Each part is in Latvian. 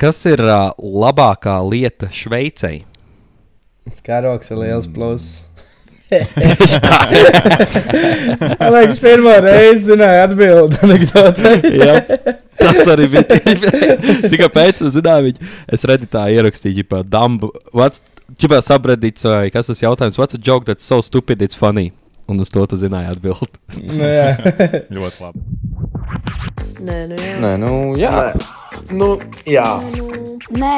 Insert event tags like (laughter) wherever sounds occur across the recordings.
Kas ir uh, labākā lieta Šveicē? Karoks ir Mm. liels pluss. Tieši tā. (laughs) Man liekas, pirmā reize zināja atbildi anekdote. Jā, (laughs) tas arī (laughs) bija. tik- Tikai pēc tam, zināmā mērā, es redītā ierakstīju, ka Dumbu. Čipā sapratīs, kas tas jautājums. What's a joke that's so stupid, it's funny? Un uz to tu zināji atbildi. (laughs) nu, jā. (laughs) Ļoti labi. Nē, nu jā. Nē, nu jā. Nu, jā. Nē,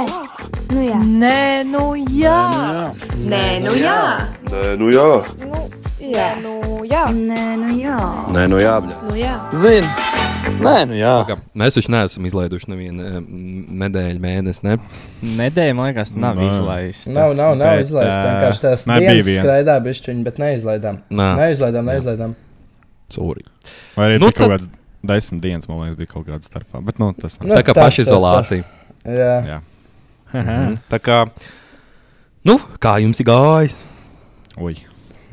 nu jā. Nē, nu jā. Nē, nu jā. Nē, nu jā. Jā, nu jā. Nē, nu jā. Nē, nu jā. Nu jā. Zini. Nē, nu jā. Kā, Mēs taču neesam izlaiduši nevienu eh, nedēļu, mēnesi. Ne? Nedēļa, man (laughs) liekas, nav Nē. izlaista. Nav, nav, nav Bet, izlaista. ā, Vienkārši tās nebija dienas viena. skraidām, bišķiņ, bet neizlaidām. Nā. Neizlaidām, neizlaidām. Sorry. Vai arī Nu, nu, kaut tad- kāds desmit dienas, man liekas, bija kaut kāda starpā. Bet, nu, tas Nu, nav. Tā kā tas, pašizolācija. Jā. Jā, Mhm. Tā kā, nu, kā jums ir gājis? ui.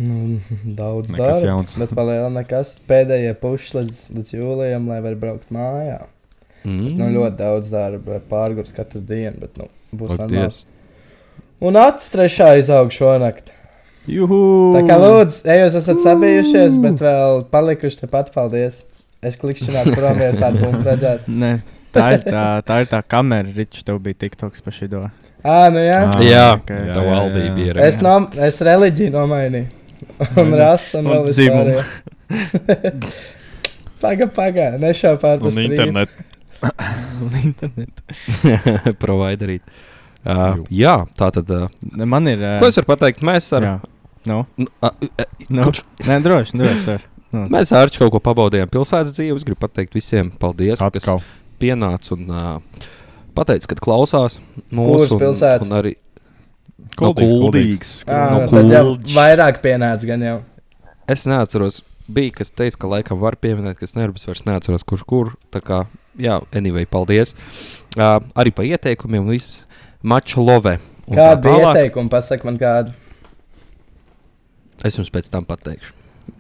Nu, daudz Nekas darba. jauns. Bet palielina nekas. Pēdējie puši līdz, līdz jūlijam, lai varētu braukt mājā. Mm. Nu, ļoti daudz darba, pārgājis katru dienu, bet nu, būs normāli. Paldies. Un acis trešā izaug šonakt. Juhu! Tā kā lūdzu, ja jūs esat sabijušies, bet vēl palikuši tepat, paldies. Es klikšķināšu prom, ja es tādu bumbu redzētu. Nē, tā ir tā, tā ir tā kamera, Ričs, tev bija tik toks par šito. Ā, nu jā. Ā. Jā, Ok. tā valdība ir. Es, nom, es reliģiju nomainīju. Un Nu, rasu, un un vēl dzimumu. vispār. (laughs) Pagaidā, pagaidā, nešā Un pārpusē. internets. Internet. (laughs) Providerīt. Uh, jā, tā tad. Uh, Ne, Man ir. eh, ko es varu pateikt? Mēs ar Jā. Nu, Nu, a- a- nu. Kurš? Nē, droši, droši. droši. Nu, Mēs ar Arču kaut ko pabaudījām pilsētas dzīvi. Es gribu pateikt visiem paldies, Atkal. kas pienāca un uh, pateica, ka klausās Kuras mūsu pilsētas? Un, un arī Kuldīgs, no kuldīgs. Nu, kuldīgs. Ah, no nu, tad jau Kuldžas. vairāk pienāca gan jau. Es neatceros, bija kas teica, ka laikam var pieminēt, kas nervus vairs neatceros, kurš kur. Tā kā, jā, anyway, paldies. Uh, arī par ieteikumiem viss mača love. un tā Kāda bija tālāk. ieteikuma? Pasak man kādu. Es jums pēc tam pateikšu.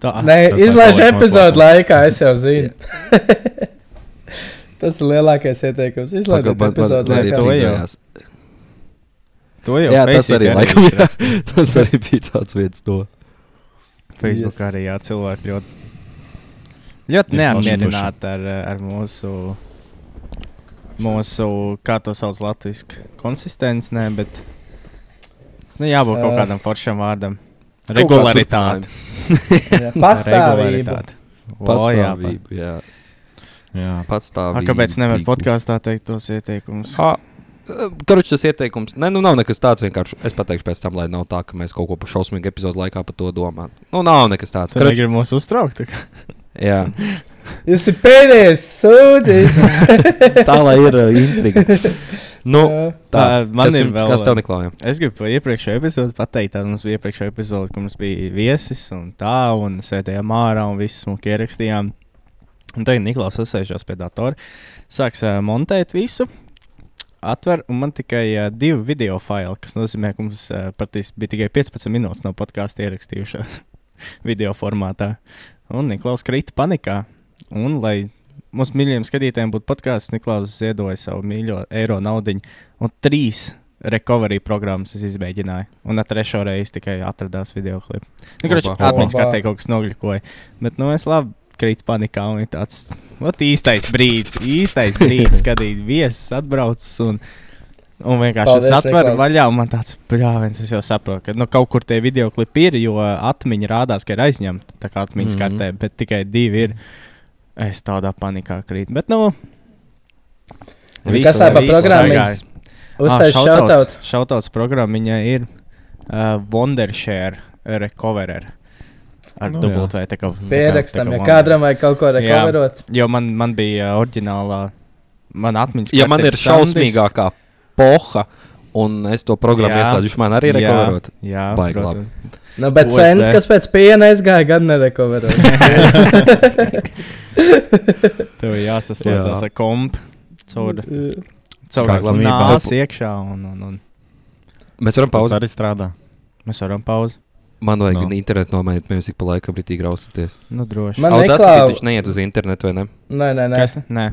Ah, tā Nē, tas izlaiž nepaliek epizodu noslēpums. laikā, es jau (laughs) zinu. Tas ir lielākais ieteikums. Izlaiž Pagaid, man- man- man epizodu to laikā. jau. iefrīzējās. To jau Jā, tas Facebookā arī laikam. bija Jā, (laughs) tas arī bija tāds viens no. Facebook Yes. yes. arī jā, cilvēki ļoti, ļoti Ir neapmierināti ar, uh, ar mūsu, mūsu, kā to sauc latviešu, konsistenci. Nē, bet nu, jābūt kaut Ā. kādam foršam vārdam. kā Regularitāte. Jā, Pastāvība. O, jā, pa- Pastāvība. Jā, Jā. A, pastāvība. Kāpēc nevar podkāstā teikt tos ieteikumus? Karuč, tas ieteikums. Nē, nu nav nekas tāds vienkārši. Es pateikšu pēc tam, lai nav tā, ka mēs kaut ko par šausmīgu epizodu laikā par to domājam. Nu, nav nekas tāds. Tas Karuč, ir mūsu uztraukt. tā kā. jā, Jūs esat pēdējais sūdiņš. (laughs) tā lai ir uh, intriga. Nu, tā, Ā, man kas ir jums- vēl- Kas tev neklāja? Es gribu par iepriekšējo epizodi pateikt, tad mums bija iepriekšējā epizode, kur mums bija viesis un tā, un sēdējām ārā un visus mums ierakstījām. Un tagad Niklaus sasēžās pie datora, sāks uh, montēt visu. Atver, un man tikai uh, divi video faili, kas nozīmē, ka mums uh, patiesībā bija tikai 15 minūtes no podkāstu ierakstījušās (laughs) video formātā. Un Niklaus krita panikā. Un, lai mūsu mīļajiem skatītājiem būtu podkāsts, Niklaus ziedoja savu mīļo eiro naudu un trīs recovery programmas es izmēģināju. Un ar trešo reizi tikai atradās video klips. Nu, Kurš Opa. atmiņas Opa. kā te kaut kas nogļukoja. Bet nu, es labi krītu panikā un ir tāds ot, īstais brīdis, īstais brīdis, kad ir viesis atbraucis. Un, Un vienkārši Paldies, Paldies, es atveru Niklaus. vaļā, un man tāds brālis, es jau saprotu, ka nu, kaut kur tie video klipi ir, jo atmiņa rādās, ka ir aizņemta tā kā atmiņas mm Mhm. -hmm. kartē, bet tikai divi ir. Es tādā panikā krītu. Bet, nu, Viss Kas tā ir- par viss programmu? saigāja. Uztais šautaut. Šautauts programma viņai ir uh, Wondershare Recoverer. Ar Nu, nu, jā. dubultvē tā kā Pierakstam, tā kā ja Wonder- kādam vajag kaut ko Jā. rekoverot. Jo man, man bija oriģinālā, man atmiņas. Ja karte man ir Sandis. šausmīgākā poha, un es to programmu Jā. ieslēdzu, viņš man arī Jā, rekoverot. Jā, Baigi protams. (laughs) Nu, bet USB. sens, kas pēc piena aizgāja, gan (laughs) nerekoverot. Tev jāsaslēdzas Jā. ar kompu. Caur, caur Kā slimībā. nāsi iekšā un, un, un Mēs varam Tas pauzēt. arī strādā. mēs varam pauzi. Man vajag No. internetu nomainīt, mēs jau pa laikam brītīgi graustaties. Nu, droši. Man Audacity neklāv- taču neiet uz internetu, vai ne? Nē, nē, nē. Kas? Nē,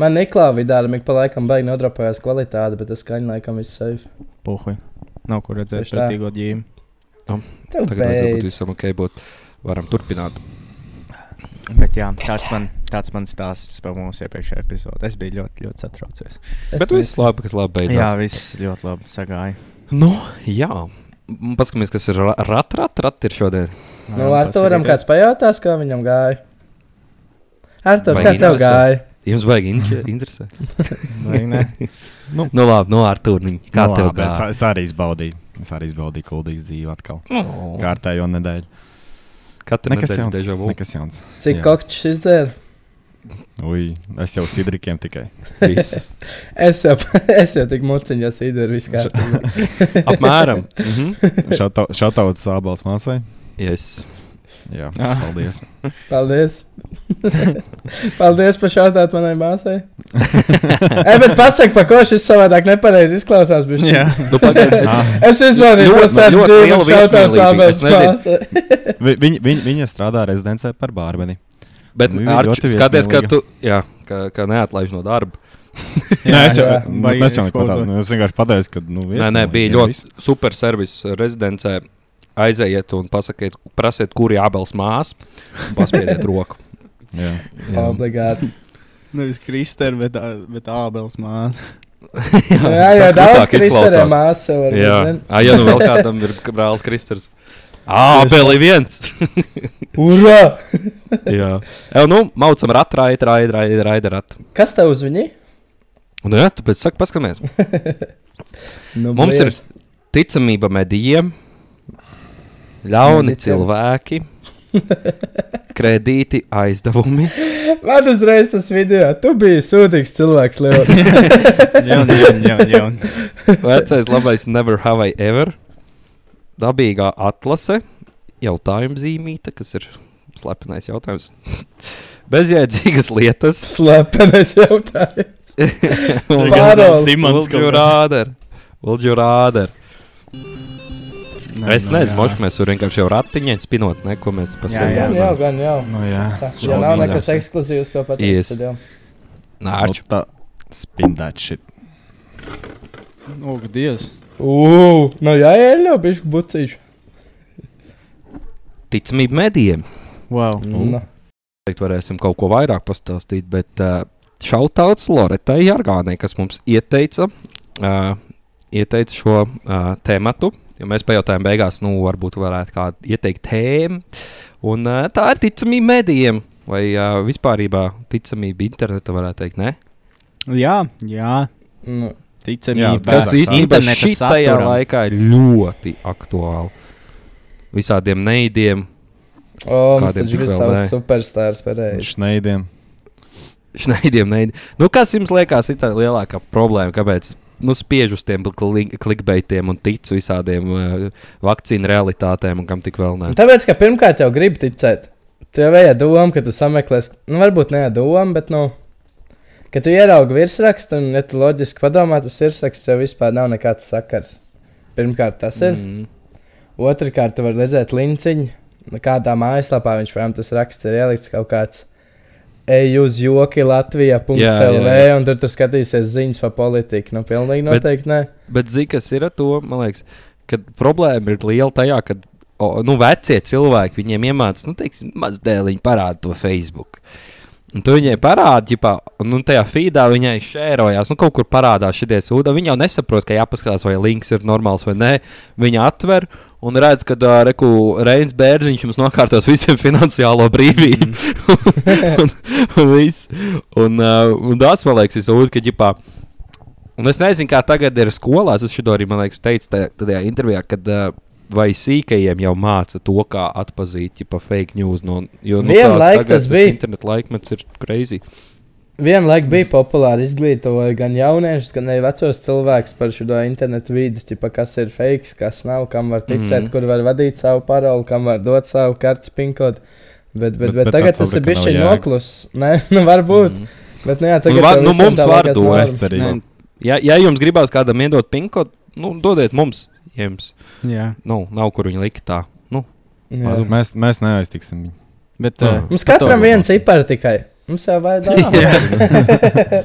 Man neklāvī dārām ik pa laikam baigi nodropojās kvalitāte, bet tas skaņa laikam ir safe. Puhui. Nav kur redzēt Tieši tā. pretīgo ģīmi. Tev Tagad vajadzētu būt beidz. visam ok, būt varam turpināt. Bet jā, tāds man, tāds man stāsts par mūsu iepriekšējā epizodē. Es biju ļoti, ļoti satraucies. Bet viss labi, kas labi beidzās. Jā, viss ļoti labi sagāja. Nu, jā. M, Paskatāmies, kas ir ra- rat, rat, rat ir šodien. Nu, Arturam kāds pajautās, kā viņam gāja. Artur, Vai kā tev interesē? gāja? Jums vajag inter interesē. kāds. (laughs) nu, labi, no Arturniņa. Kā no, Nu, tev labi, es, gāja? es arī izbaudīju. Es arī izbaudīju kuldīgas dzīvi atkal. Kārtējo nedēļu. Katra Nekas nedēļa jauns. deja vu. Nekas (laughs) jauns. Cik Jā. kokšs izdzēra? Ui, es jau sidrikiem tikai. (laughs) Visas. Es jau, (laughs) es jau tik muciņās īderu viskā. Apmēram. Mhm. Šautauts sābals māsai. Yes. Jā, Ah. paldies. Paldies. (laughs) Paldies par šādām manai māsai. (laughs) Ei, bet pasak, pa ko šis savādāk nepareizi izklausās. bišķiņ? Jā, Nu, (laughs) pagaidi, Ah, es- Es izvēlējos Ļoti- to sākt ļoti dzīvot liela šādām viesmīlība, es abās nezinu. māsai. Vi, viņa, viņa, viņa strādā rezidencē par bārbeni. Bet Nu, Arčs, ļoti skaties, ka viesmīlīga. tu jā, ka, ka neatlaiž no darba. Nē, es jau jā. nu, Vai mēs jau es neko klausos? tādu. nu, Es vienkārši pateicu, ka. Nu, Nē, nē, viesmīlīgi bija ir viss. ļoti super servis eh, rezidencē. Aizejiet un pasakiet, prasiet, kur jābels māsas. un Paspiediet (laughs) roku. Jā. nu, Obligāti. nevis Kristēra, bet, ā- bet Ābels māsa. Jā, (laughs) jā, tā daudz krūtāk kristālā izklausās. māsa var Jā, būt. Ai, ja nu vēl kādam ir brālis Kristers. Ah, vēl ir viens. (laughs) Ura! jā, Ev, nu, maucam, rat, rait, rait, rait, rait, rat. Kas tev uz viņu? Un, nu, jā, tāpēc saka, (laughs) paskatāmies. Nu, Mums ir bliec. ticamība medijiem, ļauni Mediciem. cilvēki, (laughs) kredīti, aizdevumi. Man uzreiz tas video. Tu biji sūdīgs cilvēks, Leo. (laughs) Jā, jā, jā, jā. Vecais labais Never Have I Ever. Dabīgā atlase, jautājuma zīmīte, kas ir slepenais jautājums. (laughs) Bezjēdzīgas (laughs) lietas. Slepenais jautājums. Un- Paroli. Dimants Will you kaut kā. rather? Will you rather? nu Es nu nezinu, jā. moši mēs tur vienkārši jau ratiņā spinot, ne, ko mēs Jā, jā. Gan pasakām. jau, gan jau. Nu, jā, Tā, Ja nav Šausmīgi. nekas ekskluzīvs, ko Yes. pateikt. tad jau. Nā, Arču. arču. Tā spindēt šit. Ugh, Dievs. Ugh, nu jāiet jau, bišķi bucīši. Ticamība medijiem. Wow. Nu. Teikt, varēsim kaut ko vairāk pastāstīt, bet uh, šautauts Loretai Jārgānai, kas mums ieteica, uh, ieteica šo uh, tēmatu. Jo mēs pajautājām, beigās, nu, varbūt varētu kādu ieteikt tēmu. Un uh, tā ir ticamība medijiem. Vai uh, vispār ticamība interneta varētu teikt, ne? Jā, jā. Nu, Jā, Ticamība. Tas Vairāk īstenībā interneta šajā saturam. laikā ir ļoti aktuāli. Visādiem neidiem, O, mums Kādiem taču tik bija vēl nē. savs superstars pareizi. Šneidiem. šneidiem, neidiem. Nu, kas jums liekas, ir tā lielākā problēma? Kāpēc? Nu, spiež uz tiem kli- klikbeitiem un ticu visādiem uh, vakcīnu realitātēm un kam tik vēl nē. Tāpēc, ka pirmkārt jau gribi ticēt. Tev ir doma, ka tu sameklēsi, nu, varbūt ne doma, bet, nu, kad tu ieraugi virsrakstu un, ja tu loģiski padomā, tas virsraksts jau vispār nav nekāds sakars. Pirmkārt, tas ir. Mm. Mm. Otrakārt, tu vari redzēt linciņu, Nu, kādā mājaslapā viņš prātā tas raksts ir ielikts kaut kāds. Ej uz joki Latvijā, Jā, .cl. jā, un tur tur skatīsies ziņas par politiku. Nu, pilnīgi Bet- noteikti nē. Bet zini, kas ir ar to? Man liekas, ka problēma ir liela tajā, ka nu, vecie cilvēki viņiem iemācās, nu, teiksim, mazdēliņu parādīt to Facebook. Un tu viņai parādīji, jau nu, tajā feedā viņai šērojās, nu, kaut kur parādās šī sūda. Viņa jau nesaprot, ka jāpaskatās, vai links ir normāls vai nē. Viņa atver un redz, ka uh, Reku Reins Bērziņš mums nokārtos visiem finansiālo brīvību. Mhm. Mm. (laughs) un, un, viss. un, uh, un tas, man liekas, ir sūdi, ka ģipā. Un es nezinu, kā tagad ir skolās. Es šodien arī, man liekas, teicu tajā, tajā intervijā, kad uh, vai sīkajiem jau māca to, kā atzīt pa fake news. No, jo nu, Vienlaik tas bija. Internet laikmets ir crazy. Vienlaik bija populāri izglītot gan jauniešus, gan arī vecos cilvēkus par šo internetu vidi, ķipa, kas ir fake, kas nav, kam var ticēt, Mhm. mm. kur var vadīt savu paroli, kam var dot savu kartes pinkodu. Bet, bet, Bet- bet, bet bet tagad tāds tas ir sapratu, bijis ka nav jēga. noklus. Nē, (laughs) nu varbūt. Mm. Bet, nu, jā, Nu, tagad var- tev nu, visiem mums tā var liekas dot. norma. Es ceru, Nē, Ja, ja jums gribās kādam iedot pinkodu, nu, dodiet mums. Ja jums Jā. nu, nav kur viņa likt tā. Jā. Mēs, mēs neaiztiksim viņu. Bet, Jā. ā, Mums par to katram vēl viens cipars tikai. Mums jau vajadzēja.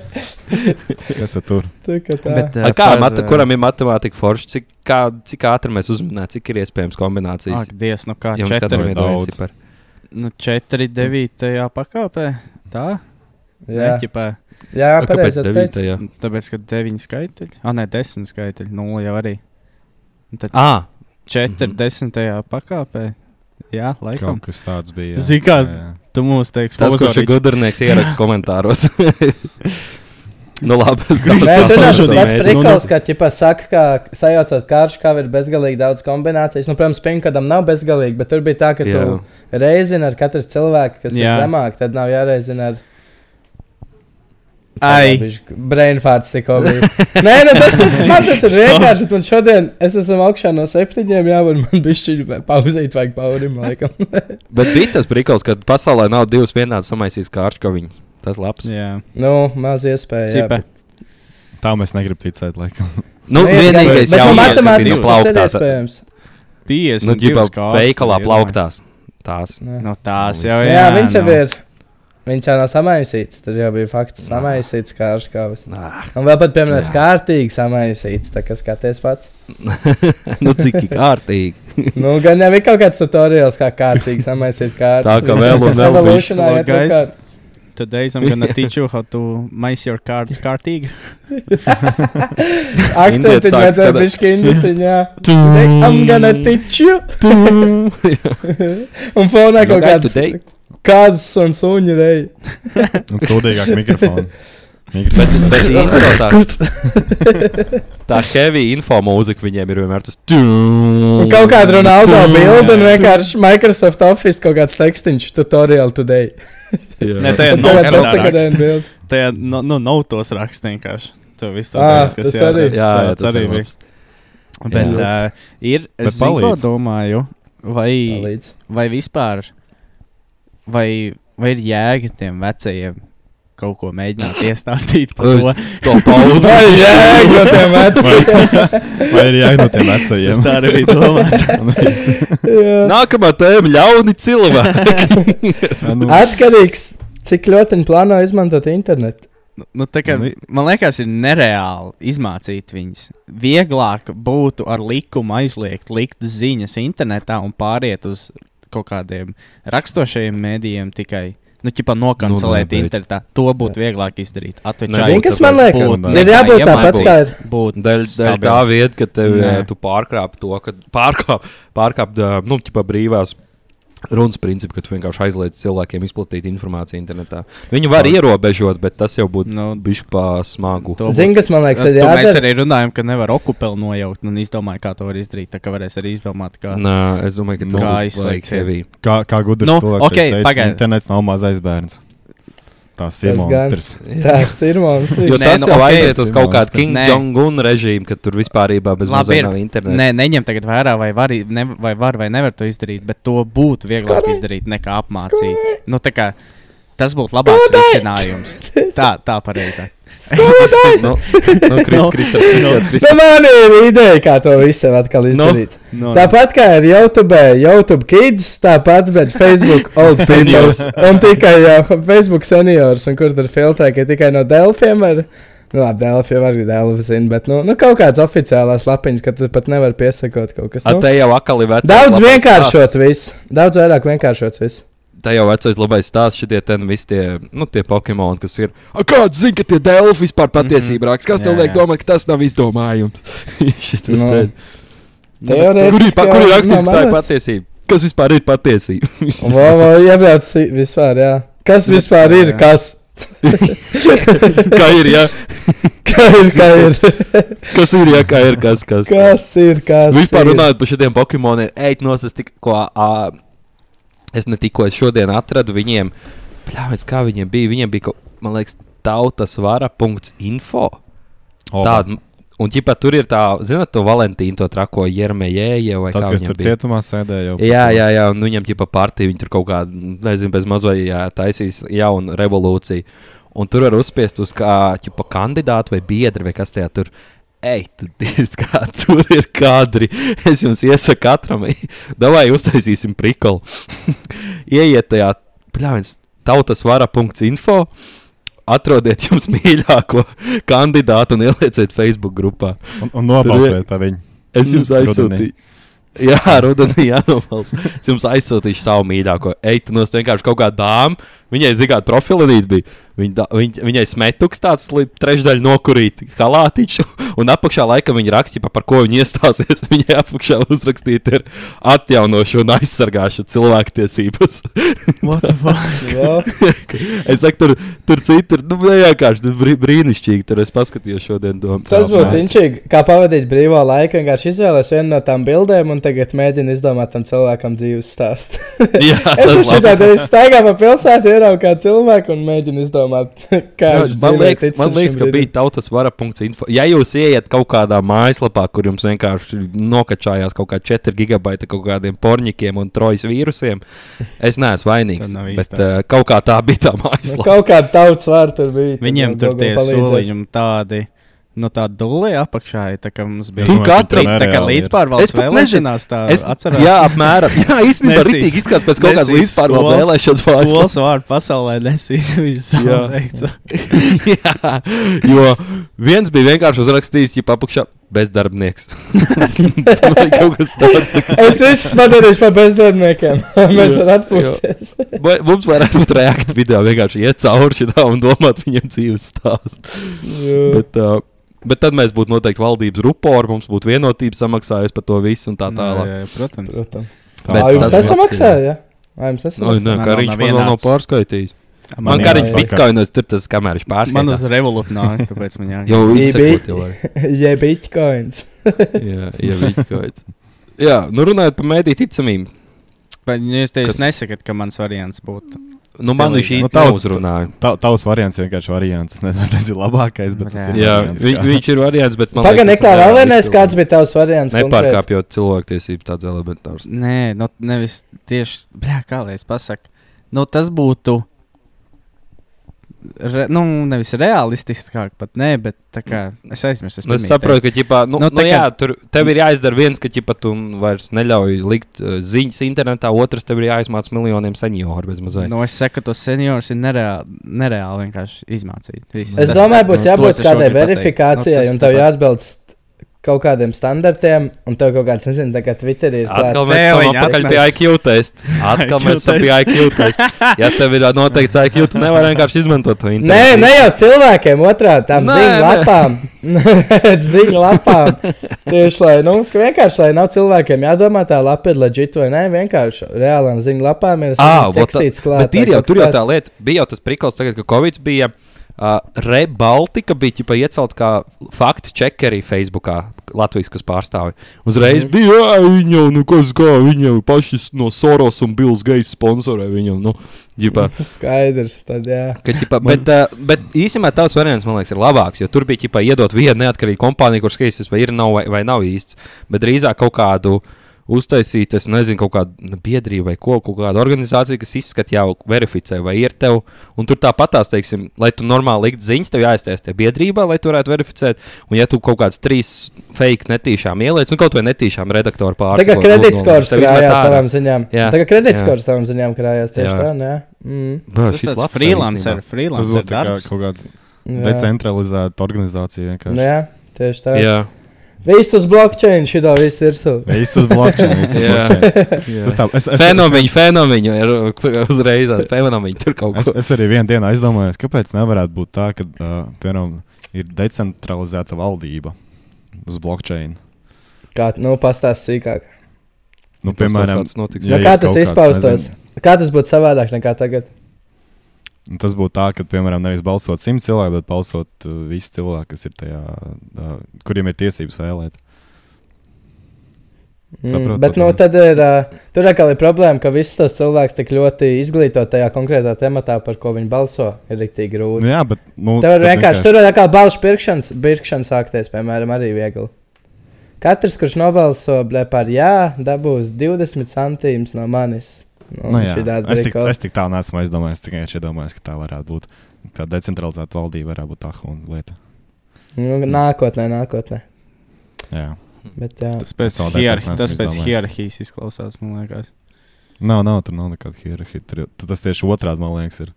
Kas ir tur? (laughs) Tā kā tā. Bet, Ar Kā, mata, eh, kuram ir matemātika forša? Cik, kā, cik ātri mēs uzzinām, cik ir iespējams kombinācijas? Ak, Dievs, nu kā Jums četri, katram ir daudz. viens cipars. nu, četri devītajā pakāpē. Tā, jā, neķipē. jā A, Kāpēc pareizi. devītā, teici. jā? Tāpēc, ka deviņi skaitļi, ah, nē, desmit skaitļi, nulle jau arī. Un Tad Ā, četri mhm. desmitajā pakāpē. Jā, laikam. Kaut kas tāds bija. Zini kā- Tu mums teiksi, tas, kurš ir gudrnieks, ieraksta (laughs) komentāros. nu, labi, es Kristus, Nē, Tas tur tas tas ir pats mērķis. nu, prikals, ka, ja saka, ka sajaucot kāršu, kā ir bezgalīgi daudz kombinācijas, nu, protams, pinkadam nav bezgalīgi, bet tur bija tā, ka Jā. tu reizini ar katru cilvēku, kas jā. Jā. ir zemāk, tad nav jāreizina ar. Ai, Brainfārds tikko bija. Nē, nu, tas (laughs) ir, man tas ir vienkārši, bet man šodien, es esmu augšā no septiņiem, jā, un man bišķiņi pauzīt vajag paurim, laikam. Bet bija tas brīnums, ka pasaulē nav divas vienādas samaisīs kārškoviņas. Tas labs. jā, Nu, maz iespēja. jā, cipa. Tā mēs negribam ticēt, laikam. Nu, Nu, ir vienīgais, kas gan- bet no manā skatījumā matemātikas ļoti tas ir plauktās. iespējams. 50. Nu, ģipā veikalā plauktās. Tās. (laughs) Jā. No Nu, tās jau Jā, nu. ir. jā, viņš jau ir. Viņš jau nav samaisīts. Tur jau bija fakts, ka samaisīts kārš kāvis. Nā, Un vēl pat pieminēts, kārtīgi samaisīts. Tā kā skaties pats. (laughs) nu, cik kārtīgi. Nu, gan jau bija kaut kāds tutoriāls, kā kārtīgi samaisīt kārtas. Tā kā vēl un Kas vēl Evolutionā bišķi. iet kaut Guys. kā- Today I'm gonna teach you how to mace your cards (laughs) kārtīgi. Indiet Akcenti sāk mēs skatīt. vēl bišķi indusiņ, jā. Today I'm gonna teach you. Un fonā Nu, kaut kā kāds today? kazas un suņi rei. Un sūdīgāk (laughs) mikrofonu. Bet es Mikrofonu. teiktu, ka tā, "Ah, tā heavy info mūzika viņiem ir vienmēr tas. Mm. Un kaut kāda Ronaldo bilde un vienkārši Microsoft Office kaut kāds tekstiņš tutorial today. vienkārši. Nē, tā ir Un tagad nopietna pasaka, ka raksta. bilde. Tajā nu, no, no, nav tos raksts vienkārši. To viss tā Ā, tas, kas tas jādara. arī. Jā, jā, tāds tas arī bija. bija. Bet Jā. uh, ir, Bet es zinu, ko palīdz. domāju, vai, Palīdz. vai vispār, vai, vai ir jēga tiem vecajiem kaut ko mēģināt iestāstīt par Es- to? To pauzi. Vai jēga tiem (laughs) Vai ir jāiet no tiem vecajiem? Nu, Es tā arī biju domāts. (laughs) Jā. Nākamā tēma - ļauni cilvēki. Nu, Atkarīgs, cik ļoti viņi plāno izmantot internetu. Nu, Nu, tā kā, Nu, i- man liekas, ir nereāli izmācīt viņus. Vieglāk būtu ar likumu aizliegt, likt ziņas internetā un pāriet uz kaut kādiem rakstošiem mēdījiem tikai. Nu, ķipa nokancelēt Nu, nu, nē, bet- internetā. To būtu vieglāk izdarīt. Nezinu, Atveidot Nu, Zini, kas man tāpēc liekas, būtu, ir jā, jābūt ja tāpat man kā ir. būtu. Daļai daļ tā stabilu. vieta, ka tev, Nē. ā, tu pārkāp to, ka pārkāp, pārkāp ā, nu, ķipa brīvās. Runas principu, ka tu vienkārši aizliedz cilvēkiem izplatīt informāciju internetā. Viņu var ierobežot, bet tas jau būtu Nu, nu, bijis pa smagu. to Zini, kas man liekas, ir Nu, mēs jādara. arī runājam, ka nevar okupēlu nojaukt. Un izdomāju, kā to var izdarīt. Tā kā varēs arī izdomāt, kā. Nā, es domāju, ka Nu, tas kā būtu aizliegt, like heavy. Kā, kā gudrs Nu, nu, cilvēks, okei, okay, teica, pagaid. pagaid. internets nav mazais bērns. Tas ir Tas gan. monstrs. Tas ir mums. Jo Nē, Nē, tas nu, nu, jau ok, aiziet tas uz ir kaut kādu monstrs. King Nē. Jong-un režīmu, kad tur vispār Labi, ir. nav interneta. Nē, neņem tagad vērā, vai var, ne, vai, var vai nevar to izdarīt, bet to būtu vieglāk Skolai! Skolai. izdarīt nekā apmācīt. Nu, tā kā, tas būtu labāks Skolai! risinājums. Tā, tā pareizā. Skolotāji! Nu, nu, (laughs) Krist, (laughs) Nu. Kristers, Kristers, Nu, Kristers. man ir ideja, kā to visu atkal Nu. izdarīt. No, Tāpat kā ir YouTube, YouTube kids, tāpat, bet Facebook old seniors. Un tikai jā, Facebook seniors, un kur tur filtrē, ka tikai no Delfiem var. Nu, labi, Delfiem var arī Delfi zina, bet, nu, nu, kaut kāds oficiālās lapiņas, ka tu pat nevar piesakot kaut kas. A, Nu. te jau akali vecais. Daudz labais stāsts. vienkāršots viss. Daudz vairāk vienkāršots viss. Tā jau vecais labais stāsts, šitie ten visi tie, nu, tie Pokemon, kas ir. Mhm. A, kāds zina, ka tie Delfi vispār patiesība raksta? Kas tev Jā, liek jā. domāt, ka tas nav izdomājums? (laughs) Šitas Nu, te- teorētiski Kur ir pa- kur ir jau rakstīts, nav ka tā ir manots. patiesība? Kas vispār ir patiesība? (laughs) Vau, vau, iebrauc i- vispār, jā. Kas Bet, vispār jā, ir? jā. Kas? (laughs) (laughs) Kā ir, (laughs) ja? Kā ir, kā ir? (laughs) Kas ir, ja? Kā ir, kas, kas? Kas ir, kas Vispār ir? runājot par šiem Pokemoniem, ej, nos, es tikko. ā, Es ne tikko es šodien atradu viņiem, pļāvis, kā viņiem bija. Viņiem bija, kaut- man liekas, tautas vara.info. Tāda, un ģipā tur ir tā, zinot, to Valentīnu, to trako Jermejēju vai Tas, kā kas viņam tur bija. cietumā sēdēja, jau Jā, jā, jā, un viņam ģipā partija, viņi tur kaut kādā, nezinu, bez mazajā taisīs jaunu revolūciju. Un tur var uzspiest uz kā ģipā kandidātu vai biedru vai kas tajā tur. Ej, tu dirzi, kā tur ir kadri. Es jums iesaku (laughs) katram, davai uztaisīsim prikolu. Ieiet tajā, pļāvis, tautasvara.info. Atrodiet jums (laughs) mīļāko kandidātu un ielieciet Facebook grupā. Un, un nobalsojiet par viņu. Es jums Mm. aizsūtīju. Rudenī. Jā, rudenī jānobalso. Es jums aizsūtīšu savu mīļāko. Eitu no vienkārši kaut kā dāmas. Viņai zigā trofilīte bija. Viņa, da- viņ, viņai smetuks tāds li- trešdaļu nokurīt halātiņš. Un apakšā laikam viņa rakstīja, par ko viņa iestāsies. (laughs) Viņai apakšā uzrakstīta ir atjaunošu un aizsargāšu cilvēktiesības. Wow. es saku, tur, tur citur, nu, vienkārši tur brī, brīnišķīgi. Tur es paskatījos šodien domu. Tas būtu inčīgi, kā pavadīt brīvā laika. Vienkārši izvēlēties vienu no tām bildēm un tagad mēģini izdomāt tam cilvēkam dzīves stāstu. Jā, Es (laughs) tas esmu šitā labs. te staigā pa pilsētu, ieraugu kā cilvēku un mēģinu izdomāt, (laughs) kā Jā, viņš Nu, Man dzīvē liekas, ticis man šim liekas ka brīdim. bija tautas vara. Info. Ja jūs ieiet kaut kādā mājaslapā, kur jums vienkārši nokačājās kaut kāda 4 gigabaita kaut kādiem porņikiem un trojas vīrusiem, es neesmu vainīgs. Tad nav Bet īstā. uh, kaut kā tā bija tā Nu, mājaslapa. kaut kāda tautas vārta tur bija. Viņiem tur tie bija. soliņi tādi. No tā dūlē apakšā ir tā, ka mums bija Tu katram- tā, tā kā Nereāli ir. Es līdzpārvaldes pat nezinu. vēlēšanās tā Es atceros. Jā, (laughs) apmēram. Jā, īstenībā Nesīs. rītīgi izskatās pēc kaut kādas Nesīs līdzpārvaldes skolas- vēlēšanas Skolas vārdu pasaulē (laughs) nesīs visu savu Jā. veicu. (laughs) Jā, jo viens bija vienkārši uzrakstījis, ja papakšā bezdarbnieks. (laughs) Vai (laughs) kaut kas tāds. tā kā- Es visus padarīšu par bezdarbniekiem. (laughs) Mēs varam atpūsties. Vai- Mums varētu būt reakta video, vienkārši iet cauri šitā un domāt viņiem dzīves stāstu. Jā. Bet, uh, bet tad mēs būtu noteikti valdības rupori, mums būtu vienotība samaksājusi par to visu un tā tālāk. Nu, Jā, jā, Protams. Protams. Bet Ā, jums tas- nesamaksāja? Vai jums Nu, nesamaksāja? nē, nav- Kariņš nav man vēl nav vienāds. pārskaitījis. Man Man kā viņš jāpakaļ. bitkoinos tur tas, kamēr viņš Man uz pārskaitījis. revolūciju nāk, tāpēc man jāsaka. Jau Bija- izsekot jau. var. (laughs) Jeb bitcoins. Jā, jā, bitkoins. Jā, nu runājot par mēdī ticamību. Bet nu, jūs Kas- teicat, nesakat, ka mans variants būtu. Nu, man viņš Stilīgi. īsti Nu, tā tavs- uzrunāja. Ta- Tavs variants vienkārši variants. Es nezinu, tas ir labākais, bet tas ir. Jā, variants, viņ, kā- viņš ir variants, bet man Pagaid, liekas, nekā tas vēl nereāli vienais, izpildīt. kāds bija tavs variants. konkrēti? Nepārkāpjot cilvēktiesību tādas elementāras. Nē, nu, nevis tieši. Bļā, kā lai es pasaku? Nu, tas būtu. Re, nu, nevis realistiskāk, pat nē, bet tā kā es aizmirsu. Nu, es pirmīt saprotu, ka ģipā, nu, Nu, nu, tā nu, kā- jā, tur, tev ir jāizdara viens, ka ģipā, tu vairs neļauj likt uh, ziņas internetā, otrs tev ir jāizmāca miljoniem senioru. bez mazliet. Nu, es saku, ka tos seniorus ir nereāli, nereāli vienkārši izmācīt. Viss. Es Tas- domāju, būtu nu, jābūt to es kādai šogad pateiktu. verifikācijai, Nu, tas un tev tāpat. jāatbilst kaut kādiem standartiem, un tev kaut kāds, nezinu, tagad Twitterī ir klāt. Atkal klāt. mēs Nē, esam viņi atpakaļ pie atnes. IQ (laughs) testa. Atkal (laughs) mēs esam pie IQ testa. Ja tev ir noteikts IQ, tu nevari vienkārši izmantot to Nē, internetu. ne jau cilvēkiem, otrā tam Nē, ziņu nē. lapām. (laughs) ziņu lapām. Tieši lai, nu, ka vienkārši, lai nav cilvēkiem jādomā, tā lapa ir leģita vai nē, vienkārši reālām ziņu lapām ir Ā, vot tā- tekstīts klāt. Bet ir jau, tur jau tā lieta, bija jau tas prikals, tagad, ka Covid bija. Uh, Rebaltika bija ģipa, iecelt kā faktu čekeri Facebookā, Latvijas kas pārstāvja. Uzreiz mm. bija, "Ā, viņa jau, nu kas kā, viņa jau paši s- no Soros un Bills Gates sponsorē viņu. Nu, ģipa, Skaidrs, tad jā. ka, ģipa, bet, uh, bet īstenībā tās variants, man liekas, ir labāks, jo tur bija ģipa, iedot vienu neatkarīgu kompāniju, kur skaties, vai ir nav, vai, vai nav īsts, bet drīzāk kaut kādu uztaisīt, es nezinu, kaut kādu biedrību vai ko, kaut kādu organizāciju, kas izskata jau verificē, vai ir tev. Un tur tāpatās, teiksim, lai tu normāli likt ziņas, tev jāizstāsta tajā biedrībā, lai tu varētu verificēt. Un ja tu kaut kāds trīs fake netīšām ieliec, un kaut vai netīšām redaktoru pārspēj. Tagad kredītskors krājās tavām ziņām. Jā. Tagad kredītskors tavām ziņām krājās tieši Jā. tā, nē. Mm. Tas ir tāds (laughs) freelancer, Tas freelancer būtu tā kā darbs. kaut kāds Jā. decentralizēta organizācija. Nu vienkārši. Jā, tieši tā. Jā, Viss uz blockchain, šī tā viss virsū. Visas blockchain. visas (laughs) Jā. blockchain. jā. Tas tā- es- es- es- Fenomeni, fenomeni, ir uh, uzreiz tāds fenomeni, tur kaut Es, kas. es arī vienā dienā aizdomājos, kāpēc nevarētu būt tā, ka uh, piemēram, ir decentralizēta valdība uz blockchain. Kā, nu, pastāst sīkāk. Nu, Tas piemēram, tāds notiks. Nu, ja kā ir tas kaut kāds, izpaustos? nezinu, Kā tas būtu savādāk nekā tagad? nu, Tas būtu tā, ka, piemēram, nevis balsot simt cilvēku, bet balsot uh, visi cilvēki, kas ir tajā, uh, kuriem ir tiesības vēlēt. Mm, Saprotu, bet nu, jā. tad ir, ā, tur atkal ir problēma, ka visus tos cilvēkus tik ļoti izglīto tajā konkrētā tematā, par ko viņi balso, ir tik Nu, grūti. jā, bet nu, Tur tad var vienkārši tur ir kā balss pirkšanas, pirkšanas sākties, piemēram, arī viegli. Katrs, kurš nobalso blē, par jā, dabūs 20 centīmus no manis. Nu, Nu, jā, šī tāda es, tik, brīkola. es tik tālu neesmu aizdomājies, tikai es iedomājos, ka tā varētu būt. Tā decentralizēta valdība varētu būt tā huna lieta. Nu, nākotnē, nākotnē. Jā, Bet, jā. Tas pēc, Es vēl hierarhi, neesmu tas pēc izdomājis. hierarhijas izklausās, man liekas. Nav, nav, tur nav nekāda hierarhija. Tur, jau- tas tieši otrādi, man liekas, ir.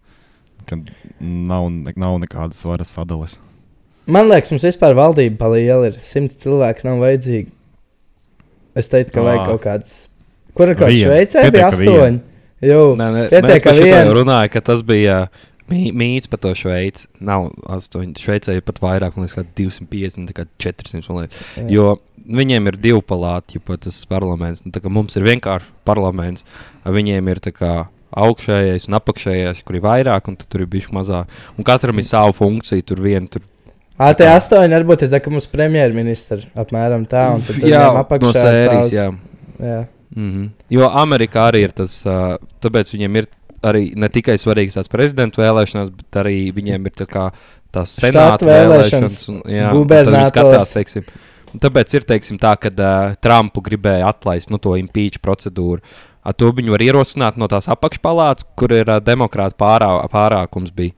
Kad nav, ne, nav nekādas varas sadales. Man liekas, mums vispār valdība paliela ir simts cilvēks, nav vajadzīga. Es teicu, ka vajag Ā. kaut kāds. Kur ir kaut kāds Vienu. Šveicē? Bija Pietiek ar vienu. astoņi. Jū, (laughs) Nē, nē, Pietiek mēs ar par šo jau vienu. runājām, ka tas bija mī- mīts par to Šveici. Nav astoņi. Šveicē ir pat vairāk, man liekas, kā 250, tā kā 400. Man liekas. Jā. Jo viņiem ir divi palāti, jo tas parlaments, nu, tā kā mums ir vienkārši parlaments, a viņiem ir tā kā. Augšējais un apakšējais, kur ir vairāk, un tad tur ir bijusi mazāk. Un katram ir sava funkcija. Tur viena tur Ā, tie astoņi varbūt ir tā, ka mums premjerministra apmēram tā, un tad jā, viņam apakšā no ir sērijas. savs- Jā. jā. Mm -hmm. Jo Amerikā arī ir tas, uh, tāpēc viņiem ir arī ne tikai svarīgas tās prezidenta vēlēšanas, bet arī viņiem ir tā kā tās senāta vēlēšanas, vēlēšanas. un- jā, un tad viņi gubernators. skatās, teiksim, un Tāpēc ir teiksim, tā, ka uh, Trumpu gribēja atlaist nu, to impeach procedūru. Ar to viņu var ierosināt no tās apakšpalātas, kur ir uh, demokrāta pārā, pārākums. Bija.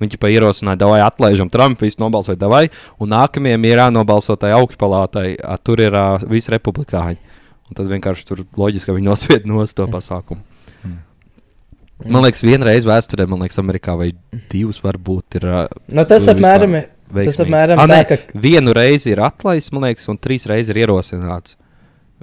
Viņi pat ierosināja, davai atlaižam Trumpu, visu nobalsoju, davai. Un nākamajam ir jānobalso tai augšpalātai, ā, tur ir ā, visi republikāņi. Un tad vienkārši tur loģiski ka viņi nosvied no to pasākumu. Man liekas, vienreiz vēsturē, man liekas, Amerikā vai divas varbūt ir. ā, Nu, tas Tur apmēram vispār. ir. veiksmīgi. apmēram Ā, tā, nē, ka- Vienu reizi ir atlaists, man liekas, un trīs reizes ir ierosināts.